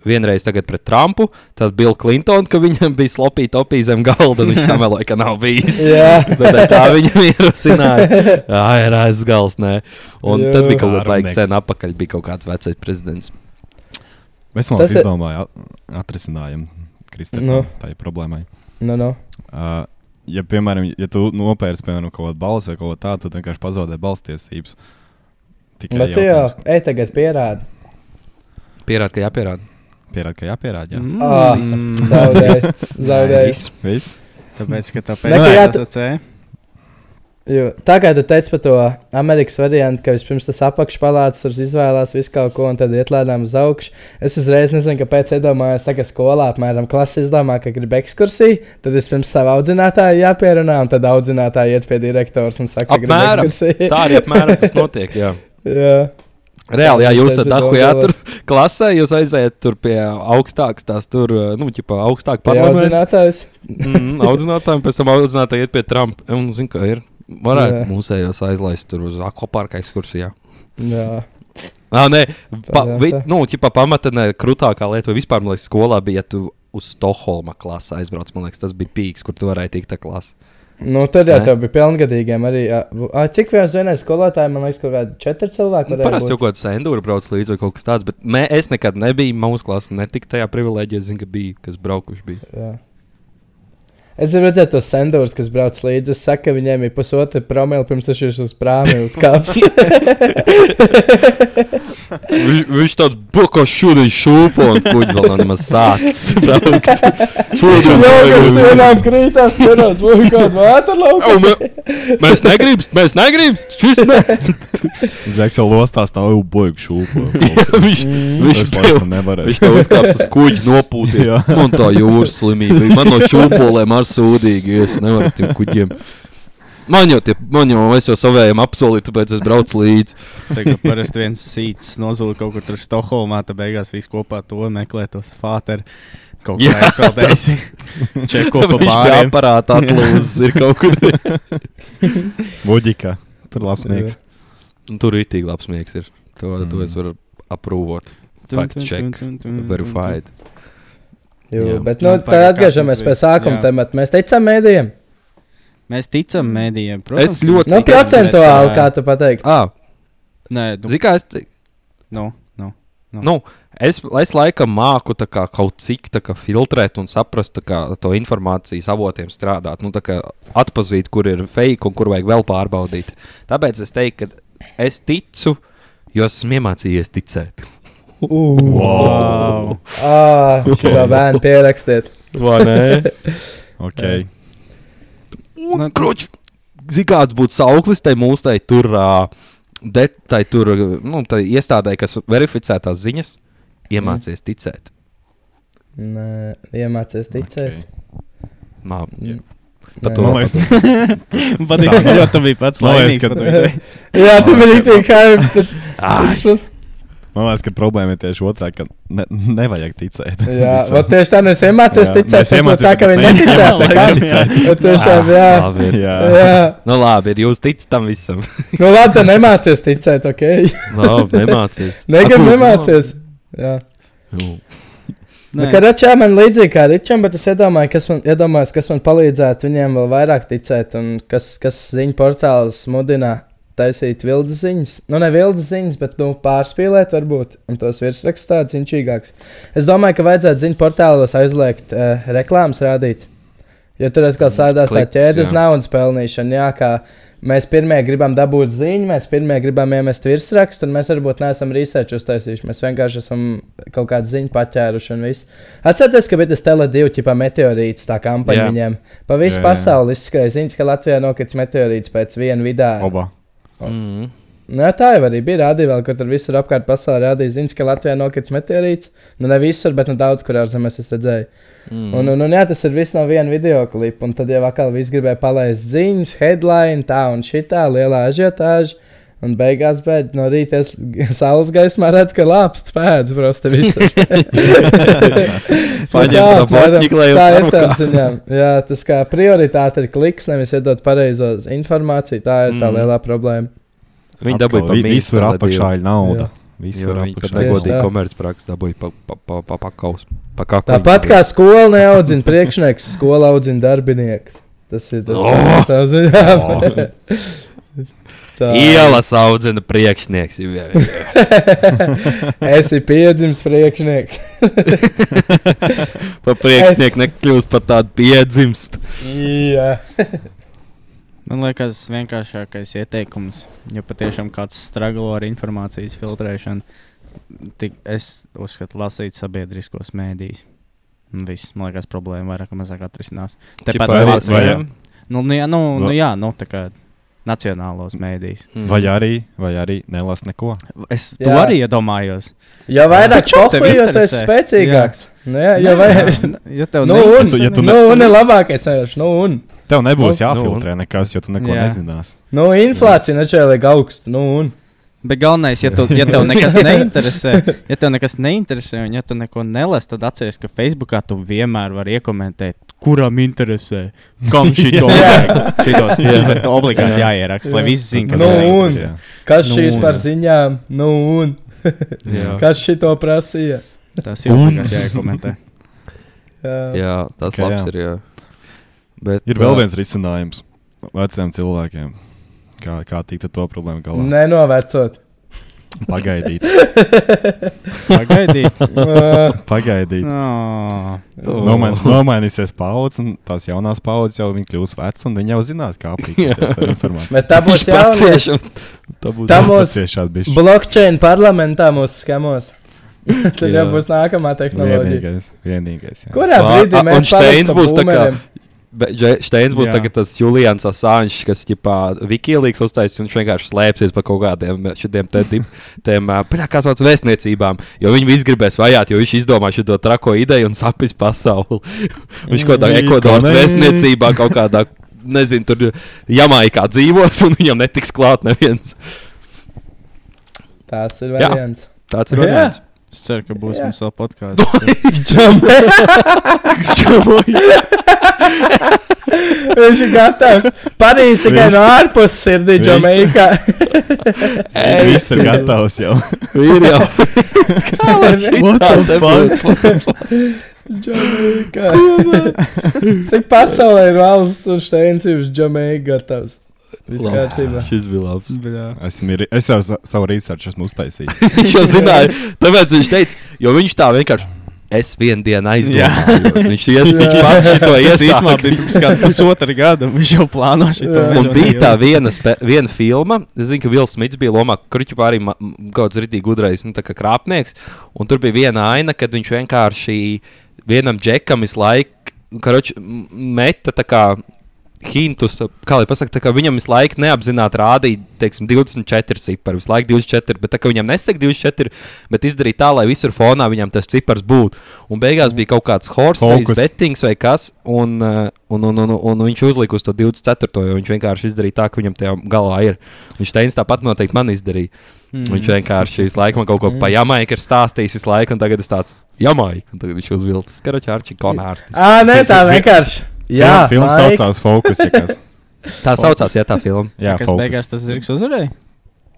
Vienreiz tagad pret Trumpu, tad Bill Clinton, ka viņam bija slopīta opija zem galda, (laughs) un viņš samēloja, ka nav bijis. Jā. Bet tā viņam (laughs) ierosināja. Jā, ir aizgals, nē. Un Jā. tad bija kaut kāda Ārnieks. baigta sen apakaļ, bija kaut kāds vecais prezidents. Es domāju, Tas ir- ka izdomāju at- atrisinājumu Kristēnam Nu. no. tai problēmai. Nu, nu. Uh, ja, piemēram, ja tu nopērci piemēram, kaut kādu balsi vai kaut ko tādu, tad vienkārši pazaudē balstiesības. Tikai Bet tu jau, ej, tagad pierādi. Pierāda, ka jāpierāda. pierāda, ka jāpierāda. Jā. Mm. Ah, Ā, Ah, Zaudēji. Zaudēji. Viss. Tāpēc, ka Nē, ka jā, tāpēc, tu- ka tā Jo, tā kā tu teici par to amerikāņu variantu, ka vispirms tas apakšpalāts tur izvēlās visu kaut ko un tad iet lēnām uz augšu, es uzreiz nezinu, kāpēc iedomājos, tā kā skolā apmēram klasē izdomā, ka grib ekskursiju, tad vispirms savu audzinātāju jāpierunā, un tad audzinātāji iet pie direktora un saka, ka grib Apmēram. ekskursiju. Tā arī apmēram tas notiek. Jā. Jā. Reāli, ja Jā, jūs tas esat ir dahu daudz jātur klasē, jūs aiziet tur pie augstākas, tās tur, nu, ķipā augstāk Pie parlamenta. audzinātājs. Mm, audzinātājiem, pēc tam audzinātāji iet pie Trumpa. Un, zin, ka ir. Varētu Jā. mūsējos aizlaist tur uz akvaparka ekskursijā. Jā. Ah, nē, pa, Pajauta. vi, nu, ķipa, pamatenē krūtākā lieta vai vispār, man liekas, skolā bija, ja tu uz Stokholma klasi aizbrauc, man liekas, tas bija pīks, kur tu varēji tikt tā klasi. Nu, tad jau Nē. tev bija pilngadīgiem arī. jā. Ā, Cik viens vienai skolotājai, man liekas, kaut kādi četri cilvēki. Nu, varēja parasti būt. jau kaut kāds endūra brauc līdzi vai kaut kas tāds, bet mē, es nekad nebiju mūsu klasē, netika tajā privilēģijā, zinu, ka bija, kas braukuši bija. Jā. Es jau redzēju tos sendūrus, kas brauc līdzi. Es saku, ka viņiem ir pusotra promila pirms es šos uz prāmi uz kāps. (laughs) Viņš, viņš tāds buko šūdiņ šūpo un kuģi vēl nav nemaz sācis (laughs) braukt. Šūdiņ Jā, uz vienām krītās, vienās būtu kaut kāda Au, vāterlauka. mē- Mēs negribam, mēs negribam. Šis ne. Džeks jau lostās tā, jau boigu šūpo. (laughs) viņš viņš Es tev, laikam nevarēju. viņš tev uzkāps uz kuģa nopūtīt. Jā. Man tā jūras slimība. Man no šūpolēm ar sūdīgi. Es nevaru ar tiem kuģiem. Man jau tie, man jau, es jau savējiem apsolīju, tāpēc es braucu līdzi. Tagad parasti viens sīts nozūd kaut kur tur Stokholmā, tad beigās viss kopā to meklē tos fāteru. Kaut Jā, kā (laughs) aizpildējis. Čeko pa Viņš bija pāriem. aparātā (laughs) atlūzis, ir kaut kur. Buģika. Tur labs mīgs. Un Nu, Tur ir tik labs miegs. ir. To, mm. to es varu aprūvot. Fact check. Mm. Verified. Jā, Jā. bet nu, Nu, tā pagaid, atgriežamies kāpēc pie bija? sākuma Jā. temata. Mēs teicām mēdījiem. Mēs ticam mēdījiem, protams. Es ļoti Nu, Cik procentuāli, kā tu pateiksi. Ah, Nē, nu, Zini, kā es, te- nu, nu. nu, es, es laikam māku tā kā, kaut cik tā kā, filtrēt un saprast tā kā, to informāciju, avotiem strādāt. Nu, tā kā, atpazīt, kur ir fake un kur vajag vēl pārbaudīt. Tāpēc es teiktu, ka es ticu, jo esmu iemācījies ticēt. Oh. Wow. Ā, Šo bērnu pierakstiet. Vai nē? (laughs) ok. Nu, Kruķis, zināms, būtu sauklis tai mūsu tai tur, ā, de, tai tur nu, tai iestādē, kas verificē tās ziņas, iemācies ticēt. Nē, Iemācies ticēt. Okay. Nā, Jā. par Nē. to Man (laughs) liekas, Patīk, ka jau tu biji (laughs) pats Man liekas, laimīgs. ka- par to ideju. Jā, tu biji tik kā. Ai, (laughs) Man liekas, ka problēma ir tieši otrā, ka ne, nevajag ticēt. Jā, (laughs) visam. vat tieši tā, nu es iemācījos Jā, ticēt, mēs tas būtu tā, iemācījāmies, ka viņi bet mēs neticētu. tā kā- iemācījāmies Vat Tiešām, jā. Labi, ir. (laughs) Jā. jā. Nu, labi, ir jūs ticat tam visam. Nu labi, tu nemācies ticēt, ok? labi, nemācīties. (laughs) Negribu nemācies. Jā. Jū. Nu, kad Račā man līdzīgi kā Ričam, bet es iedomāju, kas man, iedomājos, kas man palīdzētu viņiem vēl vairāk ticēt, un kas, kas ziņu portāls mudina taisīt vildes ziņas. Nu, ne vildes ziņas, bet nu, pārspīlēt varbūt, un tos virsrakstus tāds inčīgāks. Es domāju, ka vajadzētu ziņu portālos aizliegt uh, reklāmas rādīt. Jo tur atkal sēdās tā Mm, Klips, ķēdes jā. naudas pelnīšana, jā, kā mēs pirmie gribam dabūt ziņu, mēs pirmie gribam iemest virsrakstu, un mēs varbūt neesam research uztaisījuši. Mēs vienkārši esam kaut kādu ziņu paķēruši un viss. Atcerieties, ka bija tas teledivu tipā meteorīts, tā kampaņa Jā. viņiem. Pa visu Jā, jā. pasauli izskrēja ziņas, ka Latvijā nokrits meteorīts pēc viena vidā. Oba. Mm. Nē, tā jau arī bija rādīja, vēl, kur tur visur apkārt pasaulē rādīja ziņas, ka Latvijā nokrits meteorīts. Nu, ne visur, bet nu, daudz kur ārzemēs es redzēju. Mm. Un, un, un jā, tas ir viss no viena video klipa. Un tad jau atkal viss gribēja palaist ziņas, headline, tā un šitā, lielā ažiotāža. Un beigās, bet no rīta es (laughs) saules gaismā redzu, ka lāpsts pēdas, prosti visur. Paņem Jā, to apmēram botņiklē un Nu Tā ir parukā. tā ziņā. Jā, tas kā prioritāte ir kliks, nevis iedot pareizo informāciju. Tā ir tā Mm. mm. lielā problēma. Viņi dabūja pa vi- mīkstu Visur vēl apakšā ir nauda. Jo Visur viņi pat apakšā ir Tieši negodīgi tā. nauda. komercprāks dabūja pa, pa, pa, pa, pakaus. Pa kakliņu Tāpat dabūja. kā skola neaudzina priekšnieks, skola audzina darbinieks. Tas ir tas, Oh! kas manā skatījumā (laughs) Ielas audzina priekšnieks. Jā, jā, (laughs) jā. Es esmu piedzimis priekšnieks. Pa priekšnieku nekļūst par tādu piedzimst. Jā, Man liekas, vienkāršākais ieteikums, ja patiešām kāds strāgo ar informācijas filtrēšanu, tik es uzskatu, lasīt sabiedriskos mēdījus. Un Viss, man liekas, problēma vairāk vai mazāk atrisinās. Čipa Tāpat arī- arī arī vai- lasījām. nu, nu, jā, nu, nu, Va- jā, nu, tā kā nacionālos mēdījus. Mm. Vai arī, vai arī nelas neko. Es to Jā. arī iedomājos. jo vairāk Taču tev čopu, jo interesē. tas ir spēcīgāks. Nu, jā, jo vairāk. ja tev (laughs) Nu, un, neinteresē, Ja tu nu, un ir labākais, vienkārši, nu, un. Tev nebūs Nu, nu, jāfiltrē nekas, jo tu neko Jā. nezinās. Nu, inflācija nežēlīgi augsta, nu, un. Bet galvenais, ja, tu, ja (laughs) tev nekas neinteresē, ja tev nekas neinteresē, un ja tu neko nelasi, tad atceries, ka Facebookā tu vienmēr vari iekomentēt, kuram interesē, (laughs) kam šī to jāieraksta. Tas obligāti jāieraksta, lai viss zinātu, Nu, kas ir. un. Jā. Kas Nu, šīs un. par ziņām, nu, un. Jā. Kas šito prasīja? Tas ir obligāti jāiekomentē. Jā. jā, tas Ka labs jā. ir. Jā. Bet, Ir vēl viens risinājums veciem cilvēkiem. Kā, kā tikt ar to problēmu galā? Nenovecot. Pagaidīt, (laughs) Pagaidīt. Ā, pagaidīt. No. Oh. Nomain, nomainīsies paudzes, un tās jaunās paudzes jau viņi kļūs veci, un viņi jau zinās, kā aprīkoties ar informāciju. Bet tā (laughs) būs jauna. tā būs tā ļoti mums- ciešāda bišķi. Blockchain parlamentā mūs skamos. (laughs) Tad Jā. jau būs nākamā tehnoloģija. Vienīgais, vienīgais. jā. Kurā Vā, brīdī a, un mēs Steins paliekam būs tā kā- boomeriem? Bet Dže- Steins būs Jā. tagad tas Julians Asāņš, kas ģipā Wikileaks uztaisīs un viņš vienkārši slēpsies pa kaut kādiem eh, šitiem te tip- tiem, eh, pļā, kā sauc vēstniecībām, jo viņi visi gribēs vajāt, jo viņš izdomā šo trako ideju un sapis pasauli. (laughs) viņš kaut kādā Nī, Ekvadoras ko nē. vēstniecībā kaut kādā, nezinu, tur Jamaikā dzīvos un viņam netiks klāt neviens. Tas ir Jā. variants. (laughs) Tāds ir Jā. variants. (laughs) Es ceru, ka būs Jā. mums vēl (laughs) podkāsts. Viņš ir gatavs. Parīz tikai no ārpuses sirdī, Viss. (laughs) Džamaikā. Viss ir gatavs jau. Ir (laughs) jau. What Tā the te fuck? Džamaikā. (laughs) Cik pasaulē ir valsts, un Steins ir uz Džamaiku gatavs. Viss Labs. kārtībā. Šis bija labs. Esmu, ir- es jau sa- savu research esmu (laughs) uztaisījis. Viņš jau zināja, tāpēc viņš teica, jo viņš tā vienkārši. Es vienu dienu aizdomājos. Viņš (laughs) ies- viņš Jā. pats šo Tas īstenībā iesāka. bija pirms kāda pusotra gada. Viņš jau plāno šo Jā. Un bija tā viena, spe, viena filma, es zinu, ka Vils Smits bija lomā, kurķipā arī ma- m- kaut kāds rītīgi gudrais, nu tā kā krāpnieks. Un tur bija viena aina, kad viņš vienkārši vienam džekam visu laiku, karoči, m- meta tā kā hintus, kā lai pasakā, tā kā viņam visu laiku neapzināti rādīja, teiksim, 24 cipari, visu laiku 24, bet tā kā viņam nesaka 24, bet izdarīja tā, lai visur fonā viņam tas cipars būtu. Un beigās bija kaut kāds horse Fokus. bettings vai kas, un, uh, un, un, un, un viņš uzlika uz to 24. jo viņš vienkārši izdarīja tā, ka viņam tajā galā ir. Viņš teica, tāpat noteikti man izdarīja. Hmm. Mm. Viņš vienkārši visu laiku man kaut ko mm. par jamaiku ir stāstījis visu laiku, un tagad es tāds jamaika, un tagad viņš uzvilcis karočārči konārtis. Ā, nē, tā vienkārši. Jā, Jā, filmas Mike. saucās Focus. ja (laughs) kas- Tā saucās, ja tā filma. Jā, kas Focus. beigās tas zirgs uzvarēja?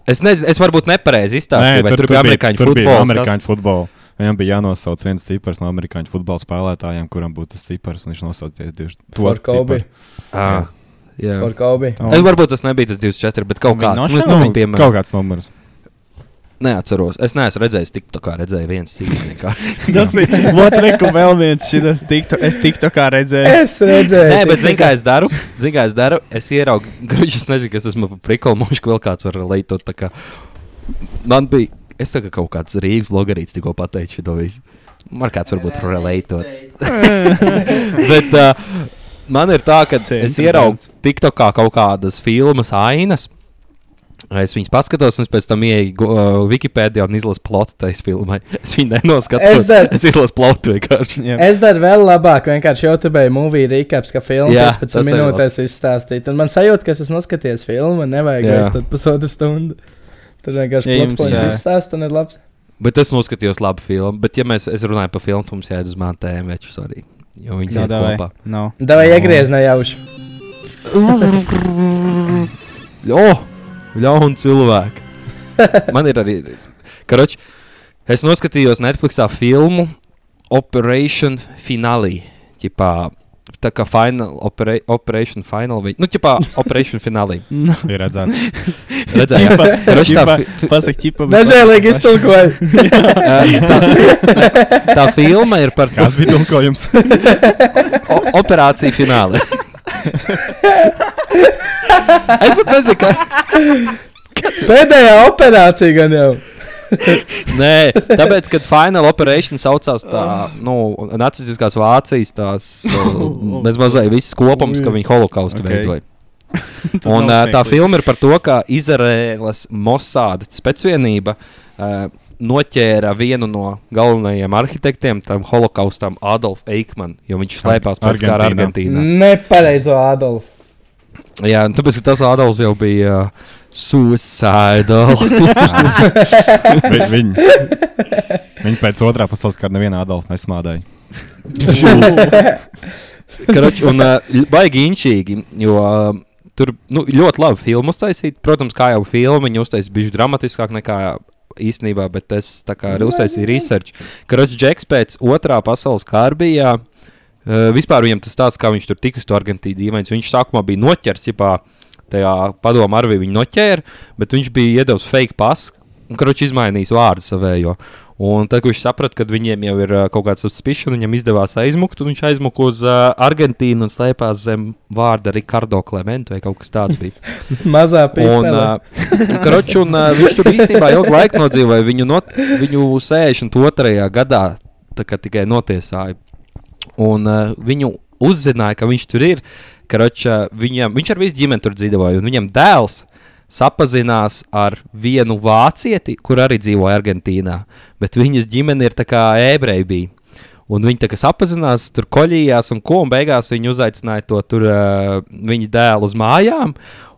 Es nezinu, es varbūt nepareizi Nē, izstāstīju, vai tur, tur bija amerikāņu tur bija futbols. kas- Amerikāņu futbolu. Viņam bija jānosauc viens cipars no amerikāņu futbola spēlētājiem, kuram būtu tas cipars, un viņš nosaucīja tieši to For Kobe. ciparu. Ā, Ah, jā. For Kobe. Es varbūt tas nebija tas 24, bet kaut Un kāds. viņi Nu, es nošāva? tam Nu, piemēru. kaut kāds numurs. Neatceros. Es neesmu redzējis, tik tā kā redzēju, viens sīkums. (laughs) Tas ir otrs, ko vēl viens šis tiktu, es tiktu kā redzēju. (laughs) Es redzēju. Nē, bet (laughs) tik- zinu, kā es daru. Zinu, kā es daru. Es ieraugu, grūti, es nezinu, kas esmu priklis, man šķiet, vēl kāds var leitot. tā kā. Man bija, es saku, kaut kāds Rīgas logarīts tikko pateicis šo visu. Man kāds varbūt var (laughs) leitot. bet uh, man ir tā, ka es Centra ieraugu TikTokā kaut kādas filmas ainas. Es viņas paskatos, un es pēc tam ienāku uh, Wikipēdijā un izlasu plotu tajā filmā. Es viņu nenoskatos. Es dar- Es, es izlasu plotu vienkārši. Jā. Es daru vēl labāk, vienkārši jau te bija mūvija recaps, ka filma Jā, pēc tas 15 arī minūtēs izstāstīta. Un man sajūta, ka es esmu noskaties filmu, un nevajag Jā. vairs tad pusotru stundu. Tur vienkārši Ja jums, jā. plakāts izstāsta un ir labs. Bet es noskatījos labu filmu. Bet, ja mēs es runājam par filmu, tad mums jāiet uz mantēm večus arī. Jo viņi ir Davai. kopā. (laughs) Nav. Davai iegriez nejauši. Jo, ļaun (laughs) cilvēki. Man ir arī. Karoč, es noskatījos Netflixā filmu Operation Finale. Ķipā, tā kā final, opera, Operation Final. vai- Nu, ķipā, Operation (laughs) Finale. Ir (laughs) redzēts. Redzēju, Ķipā, ķipā, ka Pasaka, ķipa. bet Dažēlīgi pasaka iztulkoju. (laughs) tā filma ir par to Kāds bija tulkojums? (laughs) O operācija finālā. es pat nezinu, kā. Pēdējā operācija gan jau. Nē, tāpēc, kad Final Operation saucās tā, nu, nacistiskās Vācijas (laughs) tās bezmazliet visas kopums, ka viņi holokaustu Ok. okay. veidoja. (laughs) Tad Un nav ā, tā smieklīgi. filma ir par to, ka Izraēlas Mossāda specvienība ā, noķēra vienu no galvenajiem arhitektiem tam holokaustam, Adolfu Eikmanu, jo viņš slēpās pēc kara Argentīnā. Argentīnā. Nepareizo Adolfu. Jā, un tāpēc ka tas Ādams jau bija uh, suicidal. Vi- Viņi viņi pēc otrā pasaules kara nevienu Adolfu nesmādāja. Karoč, un uh, baigi inčīgi, jo uh, tur nu, ļoti labi filmu uztaisīt. Protams, kā jau filma, viņa uztaisīja bišķi dramatiskāk nekā īstenībā, bet es tā kā arī uztaisīju research. Karoč, Džeks pēc otrā pasaules kara bija. Uh, vispār viņam tas tāds, kā viņš tur tika uz to Argentīnu dīvains. Viņš sākumā bija noķers, jau tajā padomu arvī viņu noķēra, bet viņš bija iedavis fake pasu un kroķis izmainījis vārdu savējo. Un tad, kad viņš saprata, ka viņiem jau ir uh, kaut kāds suspicion, viņam izdevās aizmukt, un viņš aizmuka uz uh, Argentīnu un slēpās zem vārda Ricardo Clemente vai kaut kas tāds bija. Mazā Un, pīpēlē. uh, kroč, un uh, viņš tur īstenībā ilgu laiku nodzīvoja. Viņu, not, viņu 62. gadā tā kā tikai notiesāja. Un uh, viņu uzzināja, ka viņš tur ir. Kroč, uh, viņam, viņš ar visu ģimeni tur dzīvoja. un Viņam dēls sapazinās ar vienu vācieti, kur arī dzīvoja Argentīnā. Bet viņas ģimene ir tā kā ebreji. bija. Un viņi tā kā sapazinās, tur koļījās, un ko un beigās viņi uzaicināja to tur, uh, viņa dēlu uz mājām.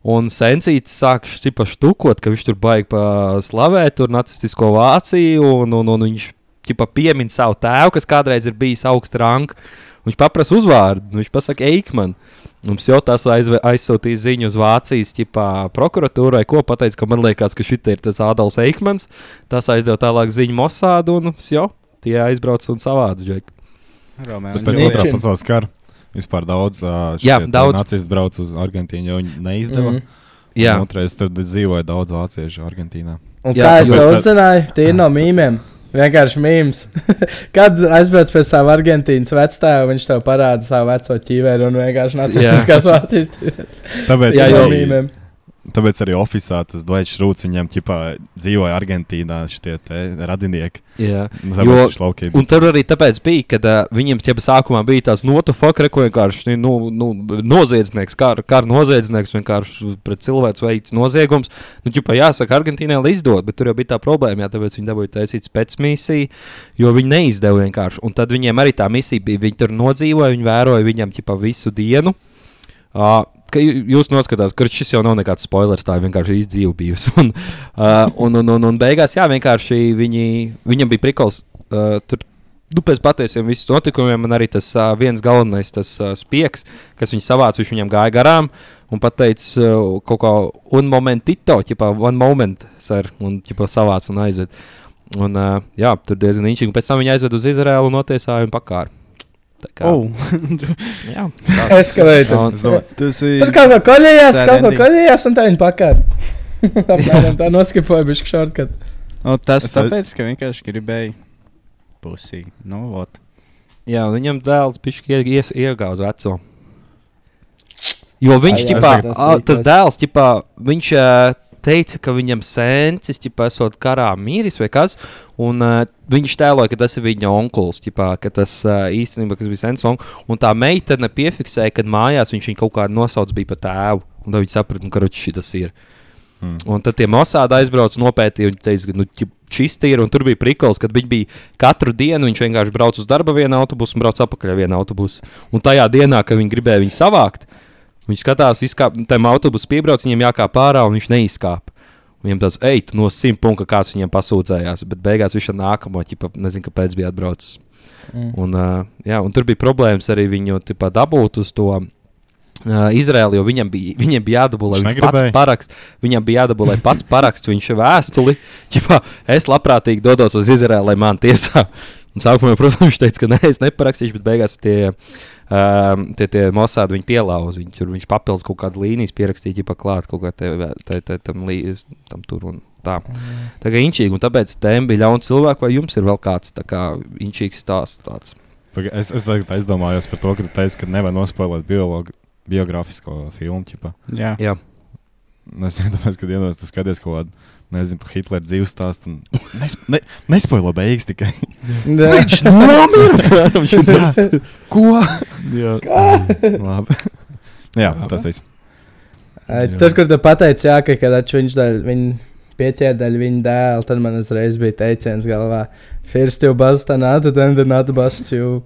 Un Sensīts sāk stiprāk štukot, ka viņš tur baigi pa- slavēt tur nacistisko Vāciju, un, un, un viņš ķipa piemin savu tēvu, kas kādreiz ir bijis augsta ranka. Viņš paprasa uzvārdu, un viņš pasaka, Eikman. Mums jau tas aizve- aizsūtīja ziņu uz Vācijas ķipā, prokuratūrai, ko pateica, ka man liekas, ka šī ir tas Ādams Eikmans. Tas aizdeva tālāk ziņu Mosādu, un jau tie aizbrauca un savāca džeku. Romeo Bet un pēc Zinu. otrā Julija. pasaules kara vispār daudz ā, Jā, šie tā daudz. nacisti brauc uz Argentīnu, jo viņi neizdeva. Mhm. Jā, Otrais tur dzīvoja daudz vāciešu Argentīnā. Un Jā, kā es to tāpēc- uzzināju, tie ir no mīmiem. Vienkārši mīmīms. (laughs) Kad aizbrauc pie sava Argentīnas vecāka, viņš tev parāda savu veco ķīveri un vienkārši nacistiskās vācijas. Tāpēc Jā, Jā, jo- jau arī mīmēm. Tāpēc arī oficiālā tas Dvaits Šrūts, viņam ķipā dzīvoja Argentīnā šie te radinieki. Jā. Nu, Tāpēc Jo- viņš laukība. Un tur arī tāpēc bija, ka uh, viņam jau sākumā bija tās notofakra, ko vienkārši nu, nu, noziedznieks, kā ar noziedznieks, vienkārši pret cilvēku veids noziegums. Nu, ķipa, jāsaka, Argentīnai lai izdod, bet tur jau bija tā problēma, jā, tāpēc viņi dabūja taisīt spēcmisiju, jo viņi neizdeva vienkārši. Un tad viņiem arī tā misija bija, viņi tur nodzīvoja, viņi vēroja viņam ķipa visu dienu. Uh, Ka jū- jūs noskatās, ka šis jau nav nekāds spoilers, tā ir vienkārši izdzīve bijusi. (laughs) Un, uh, un, un, un, un beigās, jā, vienkārši viņi, viņam bija prikals. Uh, tur nu, pēc patiesiem visiem notikumiem man arī tas uh, viens galvenais tas, uh, spieks, kas viņu savāca, viņš viņam gāja garām un pateica uh, kaut kā un momentito, tipā one moment, sir, un tipā savāca un aizved. Un, uh, jā, tur diezgan inčīgi. Un Pēc tam viņa aizved uz Izraēlu un notiesāja un pakāra. Tā kā. Oh. Jā, Eskalēta. Un- Es domāju, Tas Tur ir. kaut ko koļējās, Sad kaut ko ending. koļējās, un tā viņa pakāra. (laughs) Apmēram tā noskipoja bišķi šortkat. O, tas Es- tāpēc, ka vienkārši gribēju pusīgi. Nu, vot. Jā, un viņam dēls bija iegāzis veco. Jo viņš Ai, jā, ķipā, tas a, ir tas tas. dēls, ķipā, viņš ā, teica, ka viņam sēnesis, ķipā, esot karā mīris vai kas, un ā, viņš tēloja, ka tas ir viņa onkulis, ķipā, ka tas ā, īstenībā kas bija sensors, un tā meitene piefiksēja, kad mājās viņš viņu kaut kā nosauc bija par tēvu, un tad viņi saprata, nu, ka ruči tas ir. Hmm. Mm. Un tad tie masādi aizbrauca, nopētīja, un viņi teica, ka nu, ķip, šis ir. Un tur bija prikals, kad viņi bija katru dienu, viņš vienkārši brauca uz darbu vienā autobusā un brauca atpakaļ ar vienu autobusu. Un tajā dienā, kad viņi gribēja viņu savākt, viņš skatās, izkāp, tam autobusam piebrauc, viņam jākāp ārā, un viņš neizkāpa. Viņam tāds eit no simt punkta, kāds viņam pasūdzējās, bet beigās viņš ar nākamo ķipa nezinu, kāpēc bija atbraucis. Mm. Mm. Un, uh, jā, un tur bija problēmas arī viņu tipā, dabūt uz to. Uh, Izraēlī, jo viņam bija, viņam bija jādabū, lai Viņš viņš pats negribēja? parakst, viņam bija jādabū, lai (laughs) pats parakst viņš vēstuli. Ķipā, es labprātīgi dodos uz Izraēlu, lai man tiesā. Un sākumā, protams, viņš teica, ka nē, es neparakstīšu, bet beigās tie, um, tie, tie mosādi viņa pielauza. Viņš, tur viņš papildus kaut kādu līniju, pierakstīja, ja paklāt kaut kā te, te, te, tam, lī, tam tur un tā. Tā kā inčīgi, un tāpēc tēm bija ļauna cilvēka, vai jums ir vēl kāds tā kā inčīgs stāsts tāds? Paga- Es, es tagad aizdomājos par to, ka tu teici, ka nevar nospēlēt biologu, biogrāfisko filmu. Ķipa. Jā. Jā, Un Es (laughs) domāju, ka dienos tu skaties kaut kādu, nezinu, par Hitlera dzīves stāstu. un Nes, ne, nespoilo beigas tikai. Viņš Jā. Ko? (laughs) Jā. Labi. (laughs) Jā, tas viss. Ai, Jā. Tur, kur tu pateici, jā, ka kad atš- viņš daļ, viņa pieķēdaļ viņa dēlu, tad man uzreiz bija teiciens galvā. First you bust another, then the not bust (laughs) you.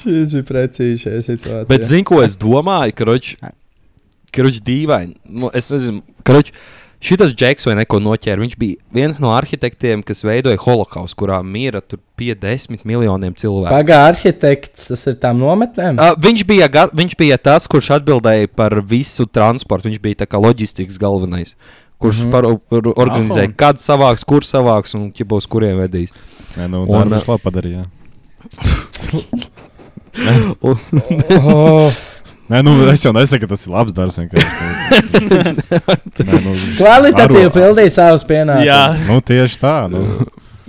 Šis bija precīzi šajā situācijā. Bet zini, ko es domāju? Kruč, kruč dīvaini. Nu, es nezinu, kruč, šitas džeks vai neko noķēra. Viņš bija viens no arhitektiem, kas veidoja holokaustu, kurā mīra tur 50 miljoniem cilvēku. Pagā arhitekts, tas ir tām nometnēm? Uh, viņš, bija, ga- viņš bija tas, kurš atbildēja par visu transportu. Viņš bija tā kā loģistikas galvenais, kurš mm Mhm. -hmm. par, par organizēja, Aha. kad savāks, kur savāks un ja būs kuriem vedīs. Nē, nu, Un, darbu viņš labi (laughs) padarīja. jā. Oh. Nē, nu, es jau nesaku, ka tas ir labs darbs. vienkārši. (laughs) Nē, nu, Kvalitatīvi aro- pildīja savus (laughs) pienākumus. (laughs) Nu, tieši tā. Nu.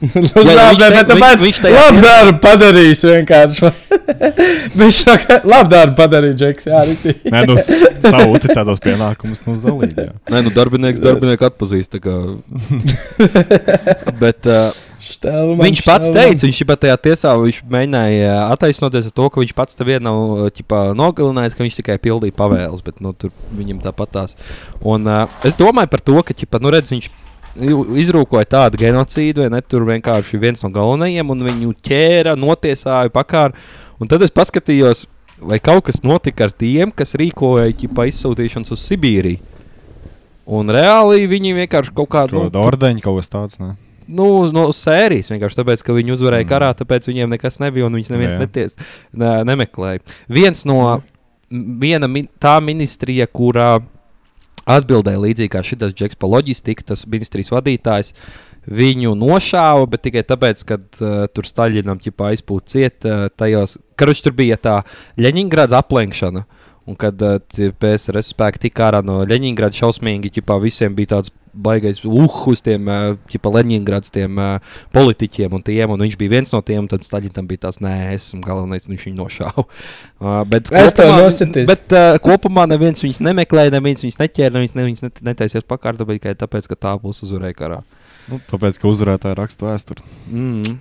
Jā, Labi, viņš bet te- tāpēc viņš- viņš tajā- labu darbu padarījis vienkārši. (laughs) Viņš saka, labu darbu padarīja, Džeks, jā, arī. Nē, nu, s- savu uzticētos pienākumus no zalīga. Nē, nu, darbinieks darbinieku atpazīst. tā (laughs) kā. Bet, uh, Štelman, Viņš pats teica, viņš pat tajā tiesā viņš mēģināja eh, attaisnoties ar to, ka viņš pats tevi nav ķipā, nogalinājis, ka viņš tikai pildīja pavēles, bet nu, tur viņam tāpat tās. Un, uh, es domāju par to, ka ķipā, nu, redz, viņš i- izrūkoja tādu genocīdu, vai ne? Tur vienkārši viens no galvenajiem, un viņu ķēra, notiesāja pakārā. Un tad es paskatījos, vai kaut kas notika ar tiem, kas rīkoja ķipā, izsūtīšanas uz Sibīriju. Un reāli viņi vienkārši kaut kādu nu, Kaut kāda ordeņa, kaut kas tāds. Ne? nu, uz- no uz sērijas vienkārši tāpēc, ka viņi uzvarēja mm. Mm. karā, tāpēc viņiem nekas nebija un viņas neviens Jā. neties, ne, nemeklēja. Viens no m- viena min, tā ministrija, kurā atbildēja līdzīgi kā šis Džeks par loģistiku, tas ministrijas vadītājs. Viņu nošāva, bet tikai tāpēc, ka uh, tur eh, Staļinam ķipā aizpūta ciet, uh, tajos, karš tur bija tā Leņņģerāda aplenkšana. Un kad uh, tie PSRS spēki tika ārā no Leņņģerādas, šausmīgi ķipā, visiem bija tāds baisais uh uz tiem uh, Leņņģerādas uh, politiķiem un tiem. Un viņš bija viens no tiem, un tad Staļinam bija tāds, nē, es esmu galvenais, un viņš viņu nošāva. (laughs) Uh, bet Es tev kopumā- nositīs. Bet uh, kopumā neviens viņus nemeklēja, neviens viņus neķēra, neviens ne, viņus net- netaisies pakārtot, bet tikai tāpēc, ka tā būs uzvarēja karā. Nu, tāpēc, ka uzvarētāji raksta vēsturi. Mm,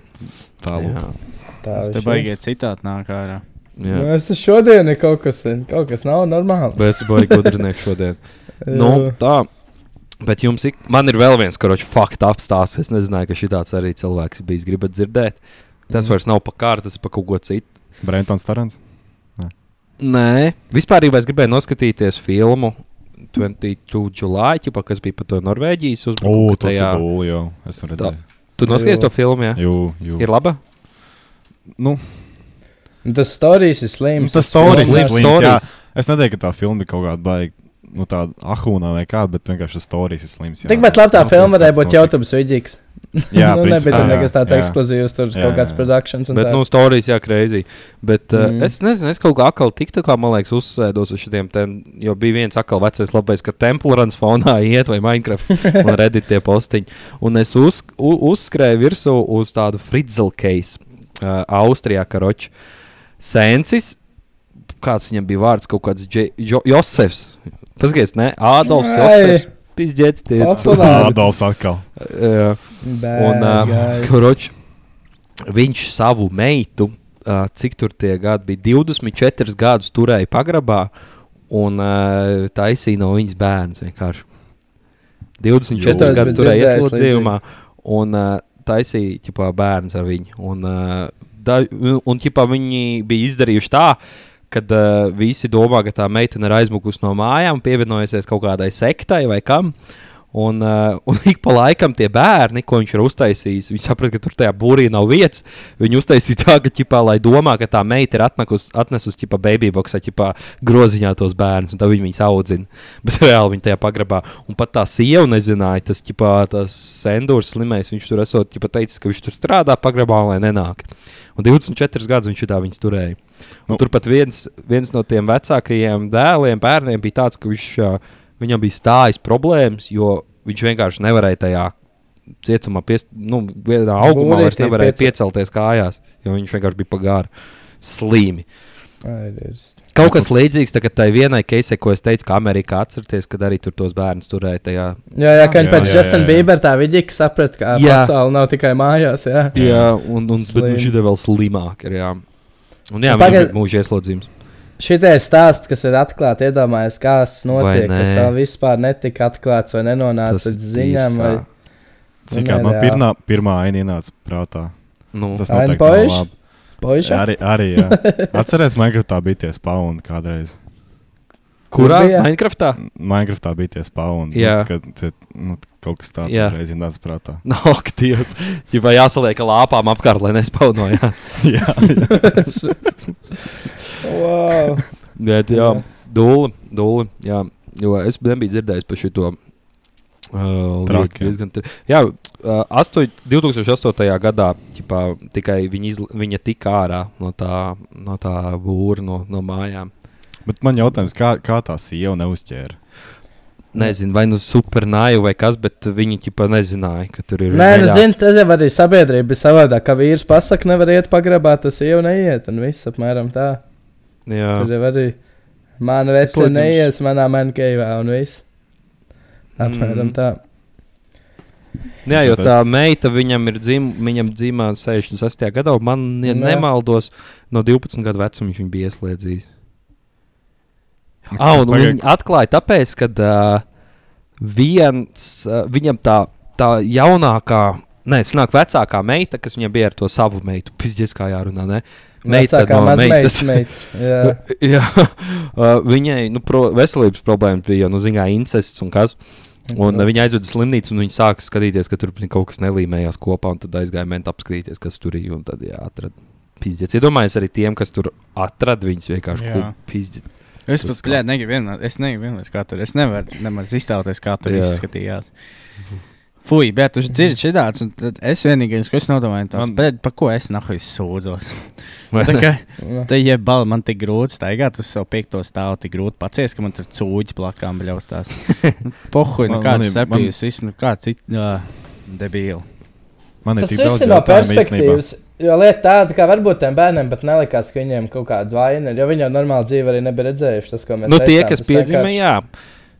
Tālāk. Tā Tas te viņš ir. baigiet citādi nāk ārā. Nu, jā. es tas šodien ir kaut kas, kaut kas nav normāli. Bet es biju gudrinieks šodien. Nu, tā. Bet jums ir, man ir vēl viens karočs fakts apstāsts. Es nezināju, ka šis arī cilvēks bija gribējis dzirdēt. Tas Mhm. vairs nav pa kārtu, tas ir pa kaut ko citu. Brentons Tarants. Nē, vispār jau es gribēju noskatīties filmu 22 July, ķipa, kas bija par to Norvēģijas O, uzbrukumu. tas ir tajā- dūli jau. Esmu redzējis. Tu noskaties Jā. to filmu, jā? Jū, jū. Ir laba? Nu, Nu, tas stāstījis ir slims. tas filmas stāsts ir slims. slims. jā. stories. Es neteiktu, ka tā filma bija kaut kāda baigta. Nu, tāda ahūna vai kāda, bet vienkārši tas stāsts ir slims. jā. Nu, Tikpat labi tā Nav filma pēc varēja kāds būt notika. jautājums vidīgs. Jā, (laughs) nu, nebija principā, tam jā, nekas tāds jā. ekskluzīvs, tur Jā, kaut kāds jā. produkts. Bet, nu, stāstījis, jā, krēsī. Bet mm. Mm. uh, es nezinu, es kaut kā atkal tiktu, kā man liekas, uzsēdos uz šiem tēmām. Jo bija viens atkal vecais labais, ka Templārans fonā (laughs) iet vai Minecraft un Reddit tie postiņi. Un es uz, u, uzskrēju virsū uz tādu Fritzl case uh, Austrijā, Karoči. Sensis, kāds viņam bija vārds, kaut kāds Dže, jo, Josefs. Paskaties, ne? Ādolfs Josefs. Pizdzēts tie. Jā, Populāri. Nu, Adolfs atkal. (laughs) Jā. Un, uh, kruč, viņš savu meitu, uh, cik tur tie gadi bija, 24 gadus turēja pagrabā un uh, taisīja no viņas bērns. Vienkārši. 24 Jū. Jū. gadus Es biju turēja dzirdējis ieslodzījumā un uh, taisīja ķipā, bērns ar viņu. Un, uh, da, un ķipā, viņi bija izdarījuši tā. Kad uh, visi domā, ka tā meitene ir aizmukusi no mājām, pievienojusies kaut kādai sektai vai kam, Un, uh, un ik pa laikam tie bērni, ko viņš ir uztaisījis, viņi saprata, ka tur tajā būrī nav vietas. Viņi uztaisīja tā, ka, ķipā, lai domā, ka tā meita ir atnakus, atnesusi ķipā, baby boxā, ķipā, groziņā tos bērnus, un tā viņi viņus audzina. (laughs) Bet reāli viņi tajā pagrabā. Un pat tā sieva nezināja, tas, ķipā, tas sendors slimais, viņš tur esot, ķipā, teicis, ka viņš tur strādā pagrabā, lai nenāk. Un 24 gadus viņš tā viņus turēja. Nu. Un turpat viens, viens no tiem vecākajiem dēliem, bērniem bija tāds, ka viņš, ā, viņam bija stājas problēmas, jo viņš vienkārši nevarēja tajā cietumā, pies, nu, vienā augumā Būrītī vairs nevarēja piecel- piecelties kājās, jo viņš vienkārši bija pagāri slīmi. Nē, Kaut kas līdzīgs tagad tai vienai keisei, ko es teicu, ka Amerikā atcerieties, kad arī tur tos bērnus turēja tajā. Jā, jā, kā viņi Jā, pēc jā, Justina jā, jā. Bībera tā vidīka saprata, ka Jā. pasaule nav tikai mājās. Jā. Jā, un, un bet Slim. viņš ir vēl slimāk. Ir, jā. Un jā, Nu, viņam pagaid- ir mūža ieslodzījums. Šitie stāsti, kas ir atklāti, iedomājās, kas notiek, nē? kas vēl vispār netika atklāts vai nenonāca Tas ir līdz ziņām. Vai... tiesā. Cik Nu, tā man nereāli. pirmā, pirmā aina ienāca prātā? Nu, Tas Aina noteikti nav Poiša? labi. Puiši, Arī, arī jā. (laughs) Atcerieties, Minecraftā bija tie spauni kādreiz. kurā? bija? Minecraftā? (laughs) Minecraftā bija tie spauni. Jā. Nu, kad tie- nu, kaut kas tāds Jā. reiz ienāca prātā. (laughs) Nav aktīvs. Viņam jāsaliek lāpām apkārt, lai nespaunojās. jā, jā. wow. Bet, jā, dūli, dūli. Jā. Jo es nebiju dzirdējis par šo. Uh, Traki, jā. diezgan traki. Jā, uh, astoņ, 2008. gadā ķipā, tikai viņa, izl, viņa tika ārā no tā, no tā būra, no, no mājām. Bet man jautājums, kā, kā tā sieva neuzķēra? Nezinu, vai nu supernāju vai kas, bet viņi ķipā nezināja, ka tur ir. Nē, nu, vaļā. zini, tad jau arī sabiedrība ir savādāka. Kā vīrs pasakā, nevar iet pagrabā, tas jau neiet. Un viss apmēram tā. Jā. Tur jau arī mana vecā Protams. neies manā mankavā un viss. Apmēram Mhm. tā. Jā, jo Tāpēc- tā meita viņam ir dzim, viņam dzimta 68. gadā, un man, ja Nē. nemaldos, no 12 gadu vecuma viņš viņu bija ieslēdzis. Ah, un, un Pagaid. viņi atklāja tāpēc, ka uh, viens uh, viņam tā, tā jaunākā, nē, snāk vecākā meita, kas viņam bija ar to savu meitu, pizdies kā jārunā, ne? Meita Vecākā no meitas. mazmeitas meitas. Jā, Jā. uh, viņai nu, pro, veselības problēmas bija, nu, zināmā mērā, incests un kas. (laughs) Un uh, viņa aizveda uz slimnīcu, un viņa sāka skatīties, ka tur kaut kas nelīmējās kopā, un tad aizgāja mentā apskatīties, kas tur bija. Un tad, jā, atrada pizdzēs. Iedomājieties, arī tiem, kas tur atrada viņas vienkārši Jā. ko pizdzēs. Es Tas pat, kā- blēd, negribu vienmēr, es negribu vienmēr, kā tur, es nevaru nemaz iztēloties, kā tur Jā. izskatījās. Fui, bet tu dzirdi šitāds, un tad es vienīgais, ko es nodomāju, tas, Man- bet par ko es nahuj sūdzos. Vai (laughs) tā ne? kā Nu, te jebal, man tik grūti staigāt uz savu piekto stāvu, tik grūti pacies, ka man tur cūģi plakām bļaustās. Pohuj, nu Man- man kāds ir- man- sapījis, viss, nu kāds it, jā, debīli. Man ir Tas tik daudz viss ir no jautājumu īstenībā. perspektīvas. Jo lieta tāda, ka varbūt tiem bērniem pat nelikās, ka viņiem kaut kāda vaina ir. Jo viņi jau normāli dzīvē arī nebija redzējuši to, ko mēs Nu, teicām, tie, kas tas piedzima, vienkārši- jā.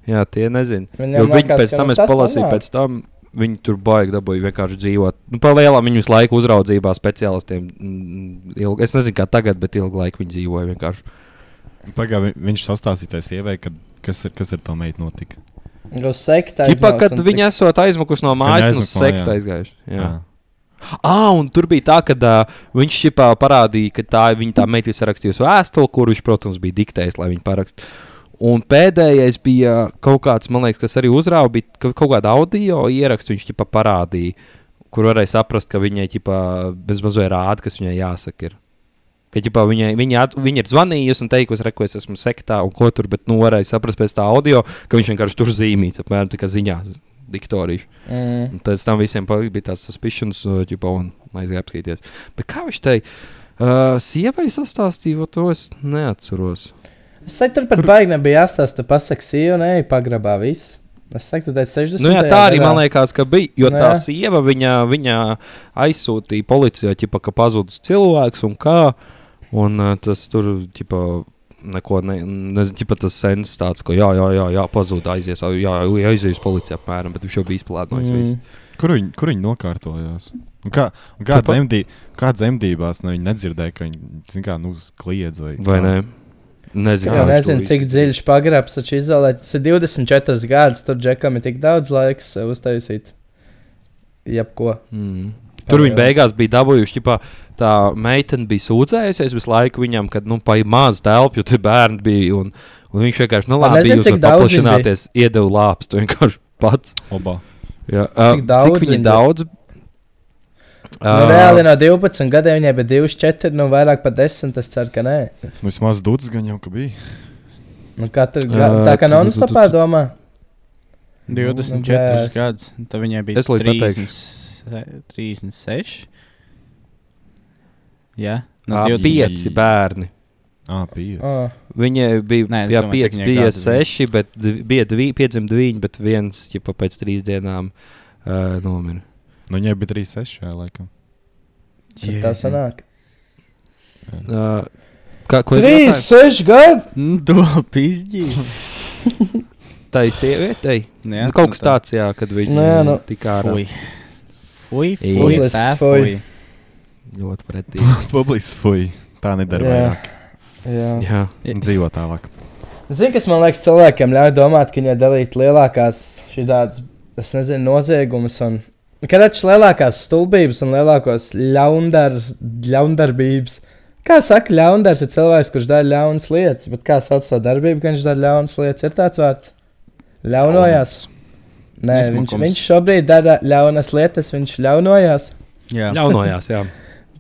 jā, tie nezina. Viņiem Jo viņi liekas, pēc ka, tam, nu, es tas palasīju, normāli. pēc tam viņi tur baigi dabūja vienkārši dzīvot. Nu, Palielā viņu visu laiku uzraudzībā speciālistiem. mm, Ilg, es nezinu, kā tagad, bet ilgu laiku viņi dzīvoja vienkārši. Pagaidā viņš sastāstīja tai sievai, kad, kas, ir, kas ar to meitu notika. Uz sekta. Tipā, kad viņi esot aizmukuši no mājas, nu, aizmukuši no, sekta jā. aizgājuši. Jā. Ah, un tur bija tā, ka uh, viņš šipā parādīja, ka tā viņa tā meitene sarakstījusi vēstuli, kur viņš, protams, bija diktējis, lai viņa parakstītu. Un pēdējais bija kaut kāds, man liekas, kas arī uzrāva, bija ka- kaut kāda audio ieraksts, viņš ķipa parādīja, kur varēja saprast, ka viņai ķipa bezmazliet rāda, kas viņai jāsaka. Ir. Ka ķipa, viņai, viņa, at, viņa ir zvanījusi un teikusi, re, ko es esmu sektā un ko tur, bet nu varēja saprast pēc tā audio, ka viņš vienkārši tur zīmīts, apmēram tā kā ziņās, diktorīši. Mm. Un Pēc tam visiem pa- bija tāds suspicions, jau un aizgāja apskatīties. Bet kā viņš teica, uh, sievai sastāstīja, vot to es neatceros. Es saku, tur pat Kur... baigi nebija jāstāsta, tu pasaki, sīju, nē, pagrabā viss. Es saku, tad 60. Nu, jā, tā arī man liekas, ka bija. Jo Nu, tā jā. sieva viņa, viņa aizsūtīja policijā, ķipa, ka pazudis cilvēks un kā. Un uh, tas tur ķipa, neko nezinu, tas sens tāds, ka jā, jā, jā, jā pazuda aizies, jā, jā, aizies policijā apmēram, bet viņš jau bija izplēnojis. Mm. Mm. visu. Kur viņi, kur viņi nokārtojās? Un kā, un kā, pa- dzemdī, kā dzemdībās ne, viņi nedzirdēja, ka viņi zin kā, nu, kliedz vai, Vai ne? Nezinu, kā Jā, viņš jā, to nezinu, visu- cik dziļš pagrabs, taču izolēt, tas ir 24 gadus, tur džekam ir tik daudz laiks sev uztaisīt. Jebko. Mm. Tur viņi jā. beigās bija dabūjuši, ķipā, tā meitene bija sūdzējusies visu laiku viņam, kad nu, pa maz telpu, jo tur bērni bija. Un, un viņš vienkārši, nu, Man labi, nezinu, jūs cik varat daudz viņu paplašināties, iedeva lāpstu vienkārši pats. Oba. Jā, ā, Cik daudz cik viņi viņu daudz? Ah. Nu, reāli no 12 gadiem viņai bija 24, nu vairāk par 10, es ceru, ka nē. Nu, Vismaz dūdas gan jau, ka bija. Nu, katru Jā, gadu tā tu- tu- kā tu- non-stopā tu- domā. 24 es- gadus, tad viņai bija Es līdz pateikšu. 30, 36. Jā, no no 20 Ah, pieci bērni. Ā, pieci. Oh. Viņai bija Nē, Nē, es jā, domāju, cik pieci, viņai bija gadi bija. seši, bet div- bija divi, piedzimti divi, bet viens jau pēc trīs dienām uh, nomira. Nu, viņai bija 36, jā, laikam. (laughs) Yeah. Tā sanāk. Uh, kā, ko es jautāju? 3, 6 gadi! Nu, to pizdzīgi. tai sievietei? Jā, nu, kaut kas tāds, jā, kad viņi Nē, nu, tikā ar Fui. Fui, Ej. fui, Publisks pē, fui. fui. ļoti pretīgi. Publis, fui. Tā nedara Jā. vairāk. (laughs) Jā. jā. Jā. Dzīvo tālāk. Zini, kas man liekas, cilvēkiem ļauj domāt, ka viņi dalīt lielākās šādas, es nezinu, noziegumus. Un... nu, Kad atšķiras lielākās stulbības un lielākās ļaundar, ļaundarbības. Kā saka, ļaundars ir cilvēks, kurš dara ļaunas lietas, bet kā sauc savu darbību, ka viņš dara ļaunas lietas, ir tāds vārds. Ļaunojās. Nē, viņš, Nesmakums. viņš šobrīd dara ļaunas lietas, viņš ļaunojās. Jā. Ļaunojās, jā.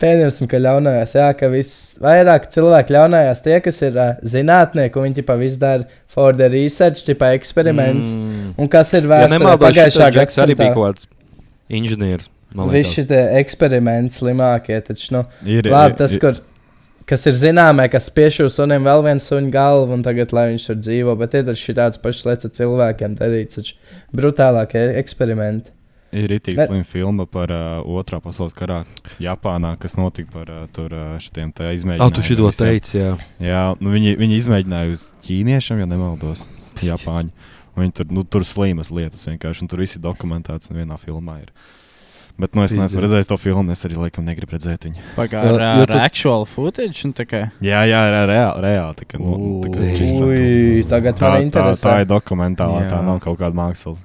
Pieņemsim, ka ļaunājās, jā, ka visvairāk cilvēki ļaunājās tie, kas ir uh, zinātnieki, un viņi pa visu dara for the research, tipa eksperiments. Mm. Mm. Un kas ir Ja vērts nemaldos, šis Džeks arī bija kaut kāds inženieris. man liekas. Visi šie eksperimenti slimākie, taču, nu, Ir, labi, tas, kur, kas ir zināmē, kas piešūs sunim vēl viens suņu galvu, un tagad, lai viņš tur dzīvo, bet ir taču tāds pašs lietas ar cilvēkiem darīts, taču brutālākie eksperimenti. Ir itī Bet- slima filma par uh, otrā pasaules karā Japānā, kas notika par uh, tur uh, šitiem tā izmēģinājumiem. Ah, tu šito visiem. teici, jā. Jā, nu viņi, viņi izmēģināja uz ķīniešiem, ja nemaldos, Japāņu. Un Viņi tur, nu, tur slīmas lietas vienkārši, un tur viss ir dokumentēts un vienā filmā ir. Bet, nu, es neesmu Pizdi. redzējis to filmu, es arī laikam negribu redzēt viņu. Jo- Pagājušā jo gada tas- actual footage. un tā kā- Jā, jā, jā reāli, reāli tā kā, nu, tā kā Ui. čista tu- Ui, tagad Tā, man tā, interesē. tā ir dokumentālā, jā. tā Jā. nav kaut kāda māksla.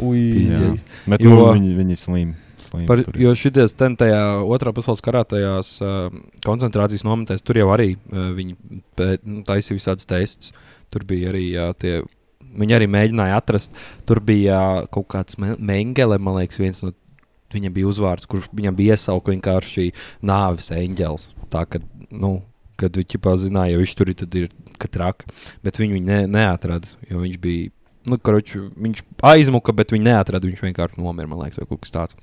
Ui. Pizdi. Jā. Bet Jo- nu, viņi, viņi slīm. slīm Par, tur ir. jo šities ten tajā otrā pasaules karā, tajās uh, koncentrācijas nometnēs, tur jau arī uh, viņi pē- nu, taisīja visādus testus. Tur bija arī jā, tie. Viņi arī mēģināja atrast. Tur bija ā, kaut kāds Me- Mengele, man liekas, viens no viņiem bija uzvārds, kurš viņam bija iesaukts vienkārši nāves eņģēlis. Tā kā, nu, kad viņi ķipā zināja, jo viņš tur ir, tad ir ka traki. Bet viņu viņi ne, neatrada, jo viņš bija Nu, karoči, viņš aizmuka, bet viņa neatrada. Viņš vienkārši nomira, man liekas, vai kaut kas tāds.